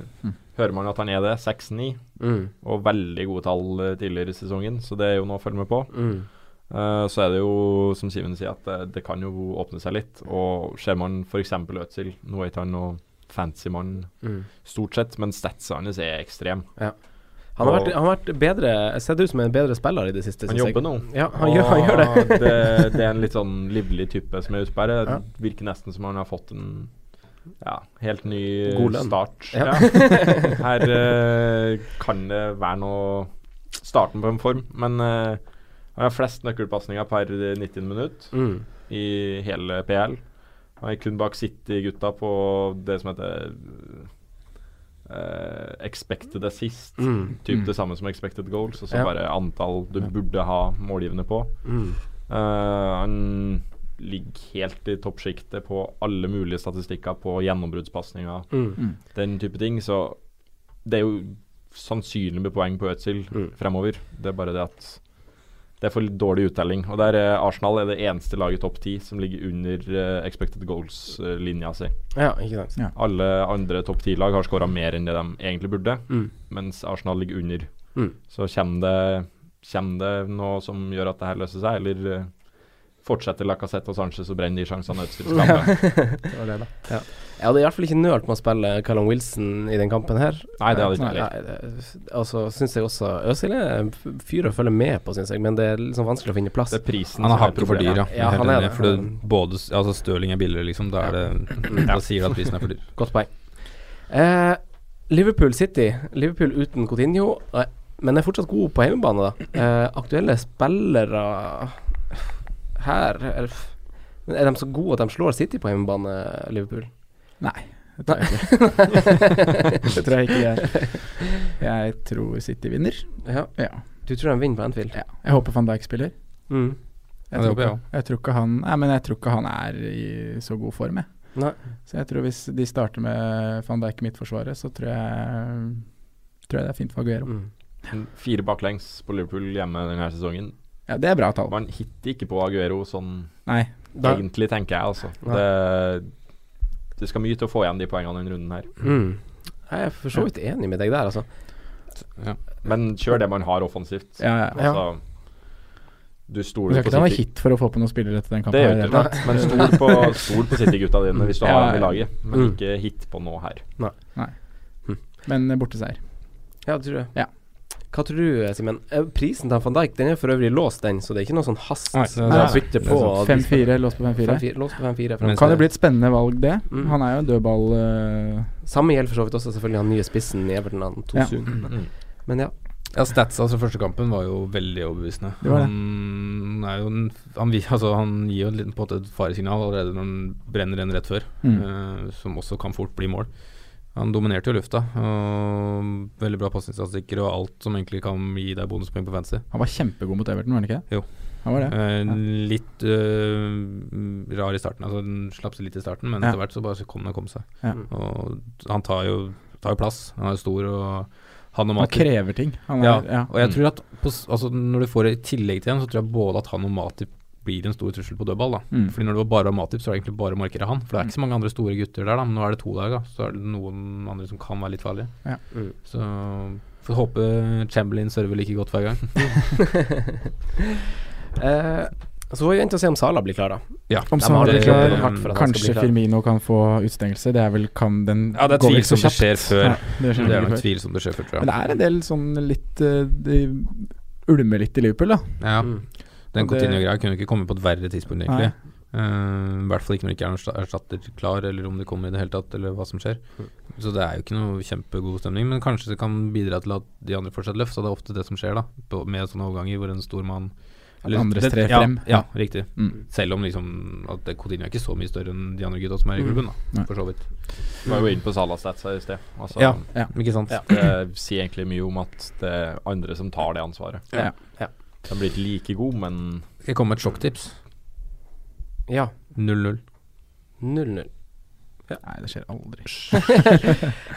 [SPEAKER 5] hører man at han er det, 6-9,
[SPEAKER 3] Mm.
[SPEAKER 5] og veldig gode tall eh, tidligere i sesongen, så det er jo noe å følge med på.
[SPEAKER 3] Mm.
[SPEAKER 5] Eh, Så er det jo, som Simen sier, at eh, det, det kan jo åpne seg litt. Og ser man f.eks. Øtzil, nå er ikke han noe fancy mann
[SPEAKER 3] Mm.
[SPEAKER 5] stort sett, men statsa hans er ekstrem.
[SPEAKER 3] Han har
[SPEAKER 5] Og-
[SPEAKER 3] vært, han har vært bedre Ser ut som en bedre spiller i det siste.
[SPEAKER 5] Han
[SPEAKER 3] synes jeg.
[SPEAKER 5] jobber nå.
[SPEAKER 3] Ja, han gjør, han gjør det.
[SPEAKER 5] Og det. Ah, Det er en litt sånn livlig type som er ute på her. Det Virker nesten som han har fått en ja, helt ny eh,
[SPEAKER 3] God lønn.
[SPEAKER 5] start.
[SPEAKER 3] Ja. <laughs>
[SPEAKER 5] Ja. Her eh, kan det være noe Starten på en form, men eh, han har flest nøkkelpasninger per 90 minutt.
[SPEAKER 3] Mm.
[SPEAKER 5] i hele PL. Han er kun bak City-gutta på det som heter eh, expected assist.
[SPEAKER 3] Mm.
[SPEAKER 5] Typ det samme som expected goals, og så
[SPEAKER 3] Ja.
[SPEAKER 5] bare antall du burde ha målgivende på.
[SPEAKER 3] Mm.
[SPEAKER 5] Eh, han ligger helt i toppsjiktet på alle mulige statistikker på gjennombruddspasninger,
[SPEAKER 3] Mm.
[SPEAKER 5] den type ting. Så det er jo sannsynlig med poeng på Øtzil
[SPEAKER 3] Mm.
[SPEAKER 5] fremover. Det er bare det at det er for dårlig uttelling. Og der er Arsenal er det eneste laget i topp ti som ligger under eh, expected goals-linja si.
[SPEAKER 3] Ja, ikke sant.
[SPEAKER 5] Alle andre topp ti-lag har skåra mer enn det de egentlig burde,
[SPEAKER 3] Mm.
[SPEAKER 5] mens Arsenal ligger under.
[SPEAKER 3] Mm.
[SPEAKER 5] Så kommer det, kjem det noe som gjør at det her løser seg, eller eh, fortsetter Lacassette og Sanchez å brenne de sjansene
[SPEAKER 2] <laughs>
[SPEAKER 5] Øtzil skaper?
[SPEAKER 3] Jeg hadde i hvert fall ikke nølt med å spille Callum Wilson i den kampen her. Eh,
[SPEAKER 5] Nei, det hadde ikke heller.
[SPEAKER 3] Nei, det- Og så syns jeg også Øzil er en f- fyr å følge med på, syns jeg, men det er liksom vanskelig å finne plass.
[SPEAKER 5] Det er prisen
[SPEAKER 2] Han er
[SPEAKER 5] som
[SPEAKER 2] hakket for dyr,
[SPEAKER 5] problemet.
[SPEAKER 2] ja.
[SPEAKER 3] Ja,
[SPEAKER 2] Helt
[SPEAKER 3] han er
[SPEAKER 2] enig,
[SPEAKER 3] det.
[SPEAKER 2] For det, både, s- altså Stirling er billigere, liksom. Da, er det, da sier det at prisen er for dyr.
[SPEAKER 3] Godt poeng. Eh, Liverpool City. Liverpool uten Coutinho, eh, men er fortsatt god på hjemmebane, da. Eh, aktuelle spillere her er, f- men er de så gode at de slår City på hjemmebane, Liverpool?
[SPEAKER 6] Nei, det tror jeg ikke. <laughs> det tror jeg ikke jeg. Jeg tror City vinner.
[SPEAKER 3] Ja.
[SPEAKER 6] Ja.
[SPEAKER 3] Du tror de vinner på Anfield?
[SPEAKER 6] ja. Jeg håper van Dijk spiller.
[SPEAKER 3] Mm.
[SPEAKER 6] Jeg
[SPEAKER 2] Ja, det
[SPEAKER 6] tror,
[SPEAKER 2] håper jeg
[SPEAKER 6] ikke, jeg tror ikke han Nei, men jeg tror ikke han er i så god form, jeg. Så jeg tror hvis de starter med van Dijk i midtforsvaret, så tror jeg, tror jeg det er fint for Aguero.
[SPEAKER 3] Mm.
[SPEAKER 5] Fire baklengs på Liverpool hjemme denne sesongen.
[SPEAKER 6] Ja, Det er bra tall.
[SPEAKER 5] Man hitter ikke på Aguero sånn
[SPEAKER 6] Nei. Da-
[SPEAKER 5] egentlig, tenker jeg, altså.
[SPEAKER 6] Nei.
[SPEAKER 5] Det, det skal mye til å få igjen de poengene denne runden her.
[SPEAKER 3] Mm. Jeg er for så vidt enig med deg der, altså.
[SPEAKER 5] Men kjør det man har offensivt.
[SPEAKER 6] Ja, ja.
[SPEAKER 5] Altså, du
[SPEAKER 6] Du
[SPEAKER 5] stoler
[SPEAKER 6] skal
[SPEAKER 5] på
[SPEAKER 6] ikke ta noe
[SPEAKER 5] City.
[SPEAKER 6] hit for å få på noen spillere til den kampen.
[SPEAKER 5] Det gjør ikke
[SPEAKER 6] her,
[SPEAKER 5] det, men stol på, stol på City-gutta dine hvis du har
[SPEAKER 6] Ja,
[SPEAKER 5] dem i
[SPEAKER 6] ja.
[SPEAKER 5] laget. Men
[SPEAKER 6] Mm.
[SPEAKER 5] ikke hit på nå her.
[SPEAKER 6] Nei. Men eh, borteseier.
[SPEAKER 3] Ja, det tror jeg. Hva tror du, Simen? Eh, Prisen til van Dijk den er for øvrig låst, den, så det er ikke noe sånn hast.
[SPEAKER 6] Nei,
[SPEAKER 3] så
[SPEAKER 6] nei, sånn
[SPEAKER 3] det
[SPEAKER 6] nei.
[SPEAKER 3] er bytte på. liksom. og-
[SPEAKER 6] 5-4, låst på 5-4.
[SPEAKER 3] 5-4, Låst på 5-4. frem
[SPEAKER 6] Kan
[SPEAKER 3] til-
[SPEAKER 6] det bli et spennende valg, det?
[SPEAKER 3] Mm.
[SPEAKER 6] Han er jo en dødball eh,
[SPEAKER 3] Samme gjelder for så vidt også selvfølgelig han nye spissen i Everton, han Tosun.
[SPEAKER 6] Ja. Mm.
[SPEAKER 3] Men, men ja.
[SPEAKER 2] Ja, statsa altså første kampen var jo veldig overbevisende.
[SPEAKER 6] Det var det.
[SPEAKER 2] Han, er jo en, han, vi- altså, han gir jo en liten, på en måte et faresignal allerede når han brenner en rett før,
[SPEAKER 6] Mm.
[SPEAKER 2] eh, som også kan fort bli mål. Han dominerte jo lufta. Og veldig bra pasningsstatistikker og alt som egentlig kan gi deg bonuspoeng på fantasy.
[SPEAKER 6] Han var kjempegod mot Everton, var han ikke?
[SPEAKER 2] Jo.
[SPEAKER 6] Han var det.
[SPEAKER 2] Eh, litt eh, rar i starten. Altså Den slapp seg litt i starten, men
[SPEAKER 6] Ja.
[SPEAKER 2] etter hvert så bare så kom den og kom seg.
[SPEAKER 6] Ja.
[SPEAKER 2] Og han tar jo, tar jo plass. Han er jo stor, og han og
[SPEAKER 6] Han
[SPEAKER 2] Matip
[SPEAKER 6] krever ting. Han er-
[SPEAKER 2] ja.
[SPEAKER 6] ja.
[SPEAKER 2] og jeg
[SPEAKER 6] Mm.
[SPEAKER 2] tror at på, s- altså, når du får det i tillegg til en, så tror jeg både at han og Matip blir en stor trussel på dødball. da
[SPEAKER 6] Mm.
[SPEAKER 2] Fordi når det var bare Matip, så er det egentlig bare å markere han. For det er ikke så mange andre store gutter der, da. Men nå er det to der, da. Så er det noen andre som kan være litt farlige.
[SPEAKER 6] Ja.
[SPEAKER 3] Mm.
[SPEAKER 2] Så får håpe Chamberlain server like godt hver gang.
[SPEAKER 3] Eh, så får vi vente og se om Sala blir klar, da.
[SPEAKER 2] Ja.
[SPEAKER 6] Om
[SPEAKER 3] De har
[SPEAKER 6] Salah blir
[SPEAKER 3] jobbet
[SPEAKER 6] klar,
[SPEAKER 3] hardt for at han skal
[SPEAKER 6] kanskje
[SPEAKER 3] bli klar.
[SPEAKER 6] Firmino kan få utstengelse. Det er vel kan den
[SPEAKER 2] Ja, det er
[SPEAKER 6] går vel så
[SPEAKER 2] tvilsomt det
[SPEAKER 6] kjapt.
[SPEAKER 2] skjer før.
[SPEAKER 6] Ja, det skjer
[SPEAKER 2] det er
[SPEAKER 6] ikke
[SPEAKER 2] nok
[SPEAKER 6] før.
[SPEAKER 2] tvilsomt det skjer før, tror
[SPEAKER 6] Men
[SPEAKER 2] jeg.
[SPEAKER 6] det er en del sånn litt eh, De ulmer litt i Liverpool, da.
[SPEAKER 2] Ja.
[SPEAKER 3] Mm.
[SPEAKER 2] Den
[SPEAKER 6] Og det-
[SPEAKER 2] Coutinho-greia kunne ikke komme på et verre tidspunkt, egentlig. Eh, I hvert fall ikke når det ikke er noen ersta- erstatter klar, eller om det kommer i det hele tatt, eller hva som skjer.
[SPEAKER 6] Mm.
[SPEAKER 2] Så det er jo ikke noe kjempegod stemning, men kanskje det kan bidra til at de andre får seg et løft. Så det er ofte det som skjer, da, på, med sånne overganger hvor en stor mann
[SPEAKER 6] At andre
[SPEAKER 2] det-
[SPEAKER 6] strer
[SPEAKER 2] ja,
[SPEAKER 6] frem.
[SPEAKER 2] Ja, riktig.
[SPEAKER 6] Mm.
[SPEAKER 2] Selv om liksom at det- Coutinho er ikke så mye større enn de andre gutta som er i
[SPEAKER 3] Mm.
[SPEAKER 2] klubben, da,
[SPEAKER 6] Nei.
[SPEAKER 2] for så vidt.
[SPEAKER 5] Vi var jo inne på Salas stats her i sted. Altså,
[SPEAKER 2] Ja.
[SPEAKER 6] Ja.
[SPEAKER 2] Ikke sant?
[SPEAKER 5] Det sier egentlig mye om at det er andre som tar det ansvaret.
[SPEAKER 6] Ja.
[SPEAKER 3] Ja.
[SPEAKER 5] De blir ikke like god, men
[SPEAKER 2] Skal jeg komme med et sjokktips?
[SPEAKER 3] Ja.
[SPEAKER 2] 0-0.
[SPEAKER 3] 0-0.
[SPEAKER 6] Nei, det skjer aldri.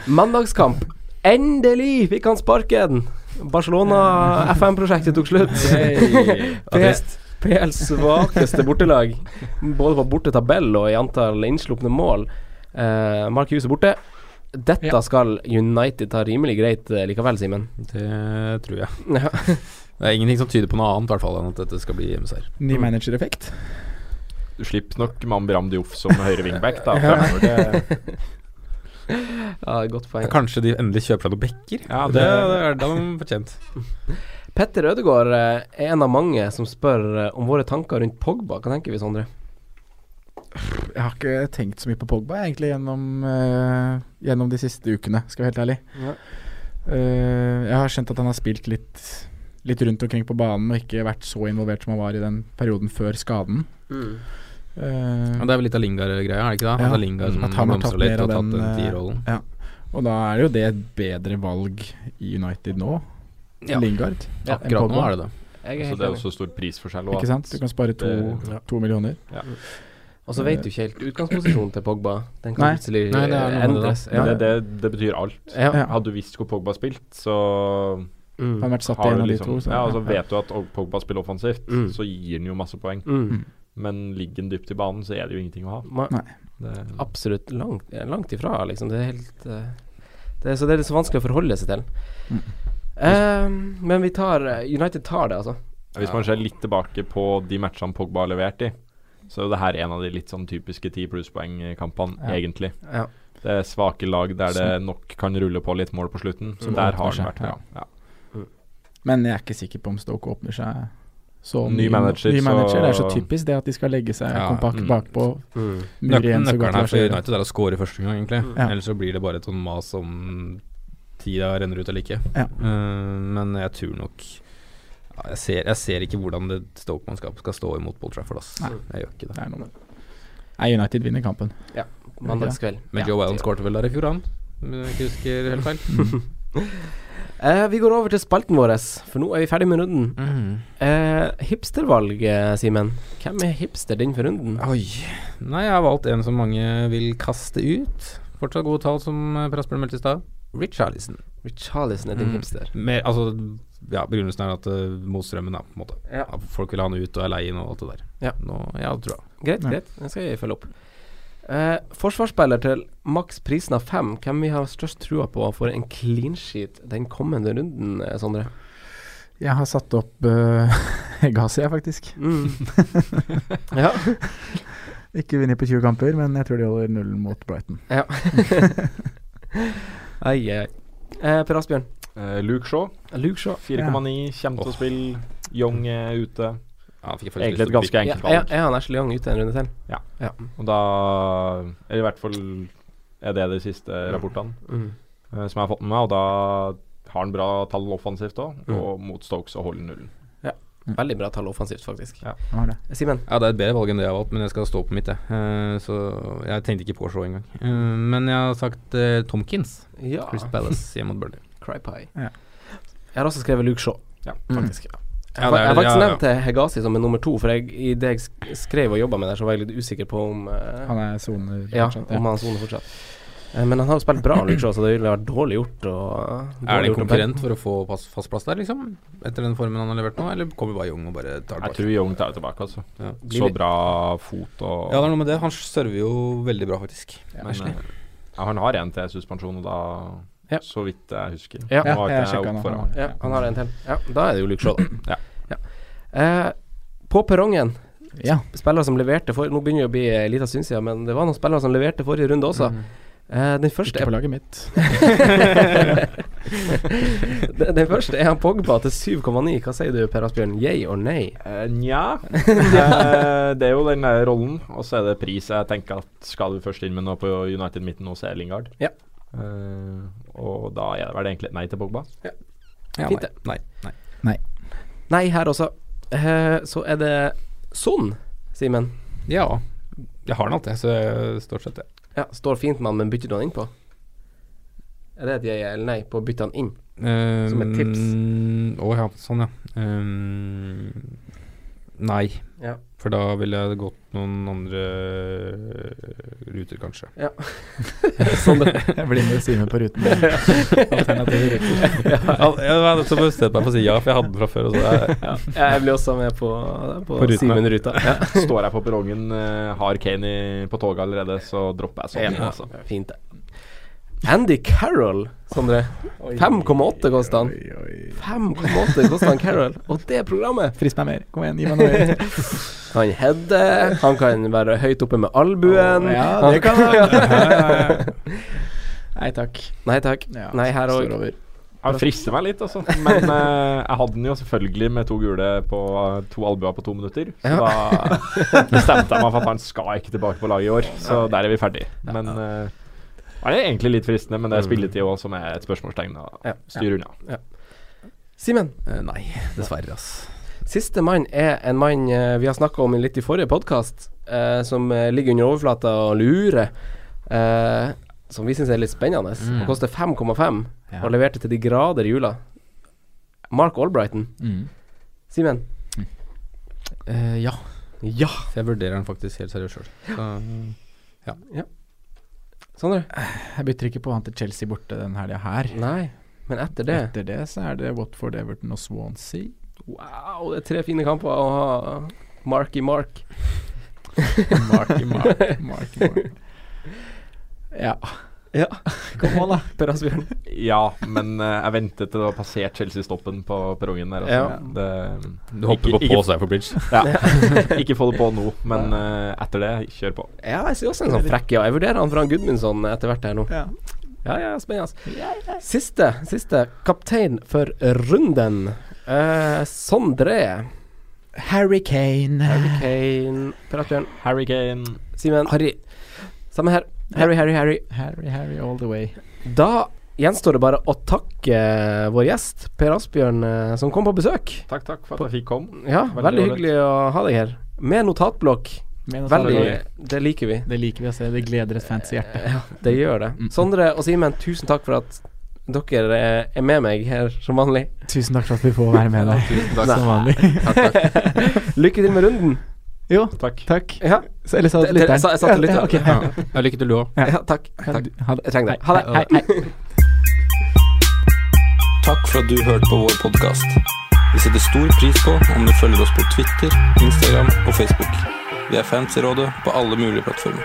[SPEAKER 3] Mandagskamp. Endelig fikk han sparken! Barcelona FM-prosjektet tok slutt. P- PLs svakeste bortelag, både på bortetabell og i antall innslupne mål. Eh, Mark Hughes er borte. Dette
[SPEAKER 6] Ja.
[SPEAKER 3] skal United ta rimelig greit eh, likevel, Simen.
[SPEAKER 2] Det tror jeg.
[SPEAKER 3] Ja.
[SPEAKER 2] <laughs> Det er ingenting som tyder på noe annet, i hvert fall, enn at dette skal bli hjemmeseier.
[SPEAKER 6] Ny managereffekt.
[SPEAKER 5] du slipper nok Mambiram Diouf som høyre wingback. Da, fremover. det,
[SPEAKER 3] ja, godt poeng.
[SPEAKER 2] Kanskje de endelig kjøper seg noen bekker?
[SPEAKER 5] Ja,
[SPEAKER 2] det,
[SPEAKER 5] det-
[SPEAKER 2] det er da de
[SPEAKER 3] <laughs>
[SPEAKER 2] fortjent.
[SPEAKER 3] Petter Ødegaard eh, er en av mange som spør eh, om våre tanker rundt Pogba. Hva tenker vi, Sondre?
[SPEAKER 6] Jeg har ikke tenkt så mye på Pogba egentlig gjennom, eh, gjennom de siste ukene, skal jeg være helt ærlig.
[SPEAKER 3] Ja.
[SPEAKER 6] Eh, jeg har skjønt at han har spilt litt, litt rundt omkring på banen og ikke vært så involvert som han var i den perioden før skaden.
[SPEAKER 3] Mm.
[SPEAKER 6] Eh,
[SPEAKER 2] Ja, det er vel litt av Lingard-greia, er det ikke det?
[SPEAKER 6] Ja.
[SPEAKER 2] At det er Lingard som
[SPEAKER 6] At han har tatt
[SPEAKER 2] blomstrer litt
[SPEAKER 6] mer
[SPEAKER 2] og
[SPEAKER 6] av
[SPEAKER 2] tatt
[SPEAKER 6] den,
[SPEAKER 2] den
[SPEAKER 6] eh,
[SPEAKER 2] tierrollen.
[SPEAKER 6] og da er jo det et bedre valg i United nå,
[SPEAKER 2] Ja.
[SPEAKER 6] Lingard,
[SPEAKER 2] Ja, Akkurat nå er Altså, det det.
[SPEAKER 3] Jeg er
[SPEAKER 5] så
[SPEAKER 3] helt
[SPEAKER 5] altså, det er
[SPEAKER 3] enig.
[SPEAKER 5] også stor prisforskjell.
[SPEAKER 6] Ikke sant? Du kan spare to,
[SPEAKER 5] Det-
[SPEAKER 3] ja.
[SPEAKER 6] to millioner.
[SPEAKER 3] Og så vet du ikke helt Eh, utgangsposisjonen til Pogba. Den
[SPEAKER 6] Nei.
[SPEAKER 3] kan plutselig
[SPEAKER 2] Nei, det er noe
[SPEAKER 3] eh,
[SPEAKER 2] med det da.
[SPEAKER 3] endres.
[SPEAKER 5] Ja.
[SPEAKER 3] Ja.
[SPEAKER 5] Det, det, det betyr alt.
[SPEAKER 3] Ja.
[SPEAKER 6] Ja.
[SPEAKER 5] Hadde du visst hvor Pogba spilt, så
[SPEAKER 3] Mm.
[SPEAKER 6] Han har vært satt i
[SPEAKER 5] har
[SPEAKER 6] en
[SPEAKER 5] du
[SPEAKER 6] av
[SPEAKER 5] liksom
[SPEAKER 6] de to. så-
[SPEAKER 5] Ja, og så vet du at Pogba spiller offensivt,
[SPEAKER 3] Mm.
[SPEAKER 5] så gir han jo masse poeng.
[SPEAKER 3] Mm.
[SPEAKER 5] Men ligger han dypt i banen, så er det jo ingenting å ha.
[SPEAKER 3] Ma-
[SPEAKER 5] Det,
[SPEAKER 3] Absolutt langt, eh, langt ifra, liksom. Det er helt eh, det er, Så det er litt så vanskelig å forholde seg til. Eh, men vi tar eh, United tar det, altså.
[SPEAKER 5] Hvis man ser litt tilbake på de matchene Pogba har levert i, så er jo det her en av de litt sånn typiske ti plusspoeng-kampene,
[SPEAKER 6] Ja.
[SPEAKER 5] egentlig.
[SPEAKER 3] Ja.
[SPEAKER 5] Det er svake lag der det nok kan rulle på litt mål på slutten. Så
[SPEAKER 6] Som
[SPEAKER 5] der
[SPEAKER 6] åpner
[SPEAKER 5] har
[SPEAKER 6] seg,
[SPEAKER 5] han vært bra. Ja.
[SPEAKER 6] Men jeg er ikke sikker på om Stoke åpner seg så
[SPEAKER 5] Ny manager,
[SPEAKER 6] ny
[SPEAKER 5] så-
[SPEAKER 6] manager. Det er så typisk det at de skal legge seg
[SPEAKER 2] Ja,
[SPEAKER 6] kompakt
[SPEAKER 5] mm.
[SPEAKER 6] bakpå. Mur
[SPEAKER 2] Nøk
[SPEAKER 6] igjen så
[SPEAKER 2] nøkkelen
[SPEAKER 6] godt
[SPEAKER 2] her
[SPEAKER 6] Lars
[SPEAKER 2] for
[SPEAKER 6] gjør.
[SPEAKER 2] United er å score i første gang, egentlig.
[SPEAKER 6] Mm. Ja.
[SPEAKER 2] Ellers så blir det bare et sånn mas om tida renner ut eller ikke.
[SPEAKER 6] Ja.
[SPEAKER 2] Eh, men jeg tror nok ja, jeg, ser, jeg ser ikke hvordan det Stoke-mannskapet skal stå imot Paul Trafford, ass.
[SPEAKER 6] Nei.
[SPEAKER 2] Jeg gjør ikke det.
[SPEAKER 6] Det er noe med det. Nei, United vinner kampen.
[SPEAKER 3] Mandagskveld.
[SPEAKER 6] <laughs>
[SPEAKER 2] Men Joe Allen skårte vel der i fjor, han? Om jeg ikke husker helt feil.
[SPEAKER 3] Eh, vi går over til spalten vår, for nå er vi ferdig med runden.
[SPEAKER 6] Mm.
[SPEAKER 2] Mm.
[SPEAKER 3] Eh, hipstervalg, eh, Simen. Hvem er hipster din for runden?
[SPEAKER 2] Oi. Nei, jeg har valgt en som mange vil kaste ut. Fortsatt gode tall, som eh, Prasper meldte i stad. Richarlison.
[SPEAKER 3] Richarlison Mm. er din hipster.
[SPEAKER 2] Mer, altså, ja, begrunnelsen er at uh, mot strømmen, da, på en måte. At folk vil ha han ut og er lei inn og alt det der.
[SPEAKER 3] Ja.
[SPEAKER 2] Nå, ja, det tror jeg.
[SPEAKER 3] Greit,
[SPEAKER 6] Ja.
[SPEAKER 3] greit. Den skal jeg følge opp. Eh, forsvarsspiller til maks prisen av fem. Hvem vi har størst trua på for en clean sheet den kommende runden, eh, Sondre?
[SPEAKER 6] Jeg har satt opp <laughs> uh, Egghasia, faktisk.
[SPEAKER 3] <laughs> Mm. ja.
[SPEAKER 6] Ikke vinner på 20 kamper, men jeg tror de holder nullen mot Brighton.
[SPEAKER 3] ja. ai, ai. Eh, per Asbjørn.
[SPEAKER 5] Eh, Luke Shaw,
[SPEAKER 3] Luke Shaw.
[SPEAKER 5] 4,9. Kommer til å spille. Young er ute.
[SPEAKER 2] Ja, han fikk faktisk lyst
[SPEAKER 5] Egentlig
[SPEAKER 2] til
[SPEAKER 5] et
[SPEAKER 2] å
[SPEAKER 5] ganske
[SPEAKER 3] Ja,
[SPEAKER 5] enkelt
[SPEAKER 3] er,
[SPEAKER 5] valg.
[SPEAKER 3] er han Ashley Young ute en runde til?
[SPEAKER 5] Og da Eller i hvert fall er det de siste rapportene
[SPEAKER 3] Mm.
[SPEAKER 5] eh, som jeg har fått med meg, og da har han bra tall offensivt òg,
[SPEAKER 2] Mm.
[SPEAKER 5] og mot Stokes og holder nullen.
[SPEAKER 3] Veldig bra tall offensivt, faktisk.
[SPEAKER 5] Ja.
[SPEAKER 6] Han har det.
[SPEAKER 3] Simen.
[SPEAKER 2] Ja, det er et bedre valg enn det jeg har valgt, men jeg skal stå på mitt, jeg. Eh, så jeg tenkte ikke på Shaw engang. Uh, men jeg har sagt eh, Tomkins.
[SPEAKER 3] Ja.
[SPEAKER 2] Chris Palace hjemme mot Burnley.
[SPEAKER 3] Cry pie.
[SPEAKER 6] Ja.
[SPEAKER 3] Jeg har også skrevet Luke Shaw,
[SPEAKER 5] Ja.
[SPEAKER 6] Mm.
[SPEAKER 3] faktisk.
[SPEAKER 2] Ja,
[SPEAKER 3] Mm. Jeg
[SPEAKER 2] det er-
[SPEAKER 3] har jeg har faktisk
[SPEAKER 2] ja, ja.
[SPEAKER 3] nevnt eh, Hegazi som en nummer to, for jeg, i det jeg sk- skrev og jobba med der, så var jeg litt usikker på om eh,
[SPEAKER 6] Han er soner.
[SPEAKER 3] Ja,
[SPEAKER 6] fortsatt,
[SPEAKER 3] om han soner fortsatt. Eh, men han har jo spilt bra, Luke Shaw, så det ville vært dårlig gjort. å
[SPEAKER 2] Er
[SPEAKER 3] dårlig
[SPEAKER 2] det en
[SPEAKER 3] gjort å-
[SPEAKER 2] konkurrent for å få pass, fast plass der, liksom? Etter den formen han har levert nå, eller kommer bare Young og bare tar det
[SPEAKER 5] Jeg
[SPEAKER 2] bak?
[SPEAKER 5] tror Young tar det tilbake, altså.
[SPEAKER 2] Ja.
[SPEAKER 5] Så bra fot og
[SPEAKER 2] ja, det er noe med det. Han server jo veldig bra, faktisk.
[SPEAKER 5] Men, eh, ja, han har en til suspensjon, og da
[SPEAKER 3] Ja.
[SPEAKER 5] Så vidt jeg husker.
[SPEAKER 3] Ja.
[SPEAKER 5] Nå var
[SPEAKER 6] Ja,
[SPEAKER 5] ikke
[SPEAKER 6] jeg
[SPEAKER 5] jeg
[SPEAKER 6] sjekket
[SPEAKER 5] opp
[SPEAKER 6] nå.
[SPEAKER 5] for
[SPEAKER 6] Han
[SPEAKER 5] ham.
[SPEAKER 6] har det.
[SPEAKER 3] Ja, han har en til. Ja, da er det jo Luke Shaw, da.
[SPEAKER 5] Ja.
[SPEAKER 3] Eh, på perrongen,
[SPEAKER 6] Ja.
[SPEAKER 3] spillere som leverte for Nå begynner det å bli en liten stund siden, men det var noen spillere som leverte forrige runde også. Eh, den første
[SPEAKER 6] Mm. Ikke på laget mitt.
[SPEAKER 3] Den den første er han Pogba til 7,9. Hva sier du, Per Asbjørn? Yay or nei?
[SPEAKER 5] Eh,
[SPEAKER 2] <laughs>
[SPEAKER 5] Nja Eh, Det er jo den der rollen, og så er det pris. Jeg tenker at skal du først inn med noe på United midten, og så er det Lingard.
[SPEAKER 3] Ja.
[SPEAKER 5] Eh, og da er det vel egentlig et nei til Pogba.
[SPEAKER 2] Ja,
[SPEAKER 3] Fint,
[SPEAKER 2] nei, nei, nei.
[SPEAKER 3] Nei, her også. Eh, så er det Son, Simen.
[SPEAKER 2] Ja, jeg har den alltid, så jeg- stort
[SPEAKER 6] <laughs>
[SPEAKER 2] sett, ja.
[SPEAKER 3] Ja, står fint med han, men bytter du han innpå? Er det et yay eller nei på å bytte han inn? Som et tips.
[SPEAKER 2] Um, Eh, Å ja, sånn, ja. Um, nei.
[SPEAKER 3] Ja.
[SPEAKER 2] For da ville jeg gått noen andre ruter,
[SPEAKER 5] <laughs>
[SPEAKER 2] kanskje.
[SPEAKER 6] Sånn <laughs> Jeg blir med Simen på <laughs> ruten. Alternative ruter.
[SPEAKER 2] ja, jeg var nettopp bestemt meg for å si ja, for jeg hadde den fra før. Og så er, ja.
[SPEAKER 3] Ja, jeg blir også med på, på,
[SPEAKER 2] På ruten,
[SPEAKER 3] Simen Ruta. Ja.
[SPEAKER 5] Står jeg på perrongen, eh, har Kane i, på toget allerede, så dropper jeg sånn. Altså.
[SPEAKER 3] Fint, det. Andy Carroll, Sondre. 5,8 koster han. 5,8 koster han Carroll. Og det programmet
[SPEAKER 6] Frist meg mer. Kom igjen, gi meg noe mer.
[SPEAKER 3] Han header, han kan være høyt oppe med albuen.
[SPEAKER 6] <laughs> Ja, det kan <laughs> han. Nei takk.
[SPEAKER 3] Nei takk.
[SPEAKER 6] Ja,
[SPEAKER 3] Nei, her
[SPEAKER 6] står
[SPEAKER 3] òg.
[SPEAKER 6] over.
[SPEAKER 5] Han frister meg litt, altså. Men eh, jeg hadde den jo selvfølgelig med to gule på eh, to albuer på to minutter. Så da bestemte jeg meg for at han skal ikke tilbake på laget i år. Så der er vi ferdig. Men eh, det er egentlig litt fristende, men det er spilletid òg som er et spørsmålstegn å
[SPEAKER 3] Ja.
[SPEAKER 5] styre unna.
[SPEAKER 3] Simen,
[SPEAKER 2] Eh, Nei, dessverre, ass.
[SPEAKER 3] siste mann er en mann eh, vi har snakka om litt i forrige podkast, eh, som eh, ligger under overflata og lurer. Eh, som vi syns er litt spennende.
[SPEAKER 2] Mm.
[SPEAKER 3] Han koster 5,5 og leverte til de grader i jula. Mark Albrighton.
[SPEAKER 6] Mm.
[SPEAKER 3] Simen.
[SPEAKER 2] Mm. Eh, ja.
[SPEAKER 3] Ja.
[SPEAKER 2] Så jeg vurderer den faktisk helt seriøst sjøl. Ja.
[SPEAKER 3] Sondre?
[SPEAKER 6] Jeg bytter ikke på han til Chelsea borte den helga her.
[SPEAKER 3] Nei. Men etter det
[SPEAKER 6] Etter det så er det Watford, Everton og Swansea.
[SPEAKER 3] Wow, det er tre fine kamper å ha Marky Mark.
[SPEAKER 6] Marky Mark. Marky Mark. Ja.
[SPEAKER 3] Ja.
[SPEAKER 6] Kom on, da.
[SPEAKER 3] <laughs> Per Asbjørn.
[SPEAKER 5] Ja, men eh, jeg ventet til det var passert Chelsea-stoppen på perrongen der. Altså. Det,
[SPEAKER 2] Du hopper
[SPEAKER 5] ikke,
[SPEAKER 2] på på Cypherbridge.
[SPEAKER 5] Ja. <laughs> ikke få det på nå, men eh, etter det, kjør på.
[SPEAKER 3] Ja, jeg ser også en sånn frekk, ja. Jeg vurderer han fra Gudmundsson etter hvert her nå.
[SPEAKER 6] Ja.
[SPEAKER 3] Ja, ja, spennende. Siste, siste. Kaptein for runden. Eh, Sondre.
[SPEAKER 6] Harry Kane.
[SPEAKER 3] Harry Kane. Per Asbjørn.
[SPEAKER 5] Harry Kane
[SPEAKER 3] Simen. Harry. Samme her. Harry, Harry, Harry.
[SPEAKER 6] Harry, Harry all the way.
[SPEAKER 3] Da gjenstår det bare å takke vår gjest, Per Asbjørn, eh, som kom på besøk.
[SPEAKER 5] Takk, takk for at jeg fikk komme.
[SPEAKER 3] Ja,
[SPEAKER 5] Veldig
[SPEAKER 3] veldig,
[SPEAKER 5] ålreit.
[SPEAKER 3] hyggelig å ha deg her. Med notatblokk.
[SPEAKER 6] Men også-
[SPEAKER 3] Veldig. Det liker vi.
[SPEAKER 6] Det liker vi å se. Det gleder et fancy hjerte.
[SPEAKER 3] Det gjør det. Sondre og Simen, tusen takk for at
[SPEAKER 6] Dere eh, er med meg her som vanlig.
[SPEAKER 7] Tusen takk for at vi får være med, da.
[SPEAKER 6] Tusen takk.
[SPEAKER 7] Som vanlig.
[SPEAKER 6] <laughs> Lykke til med runden.
[SPEAKER 7] Jo,
[SPEAKER 5] takk.
[SPEAKER 6] Ja.
[SPEAKER 7] Så- eller sa du
[SPEAKER 6] Det- det-
[SPEAKER 7] lytteren?
[SPEAKER 6] Jeg sa, jeg sa til
[SPEAKER 7] Ja,
[SPEAKER 6] lytteren.
[SPEAKER 7] ok. Ja.
[SPEAKER 8] Ja, lykke til du òg.
[SPEAKER 6] Ja, takk. takk. Jeg trenger deg. Ha det.
[SPEAKER 8] Hei,
[SPEAKER 6] <laughs>
[SPEAKER 3] Takk for at du hørte på vår podkast. Vi setter stor pris på om du følger oss på Twitter, Instagram og Facebook. Vi er fans i rådet på alle mulige plattformer.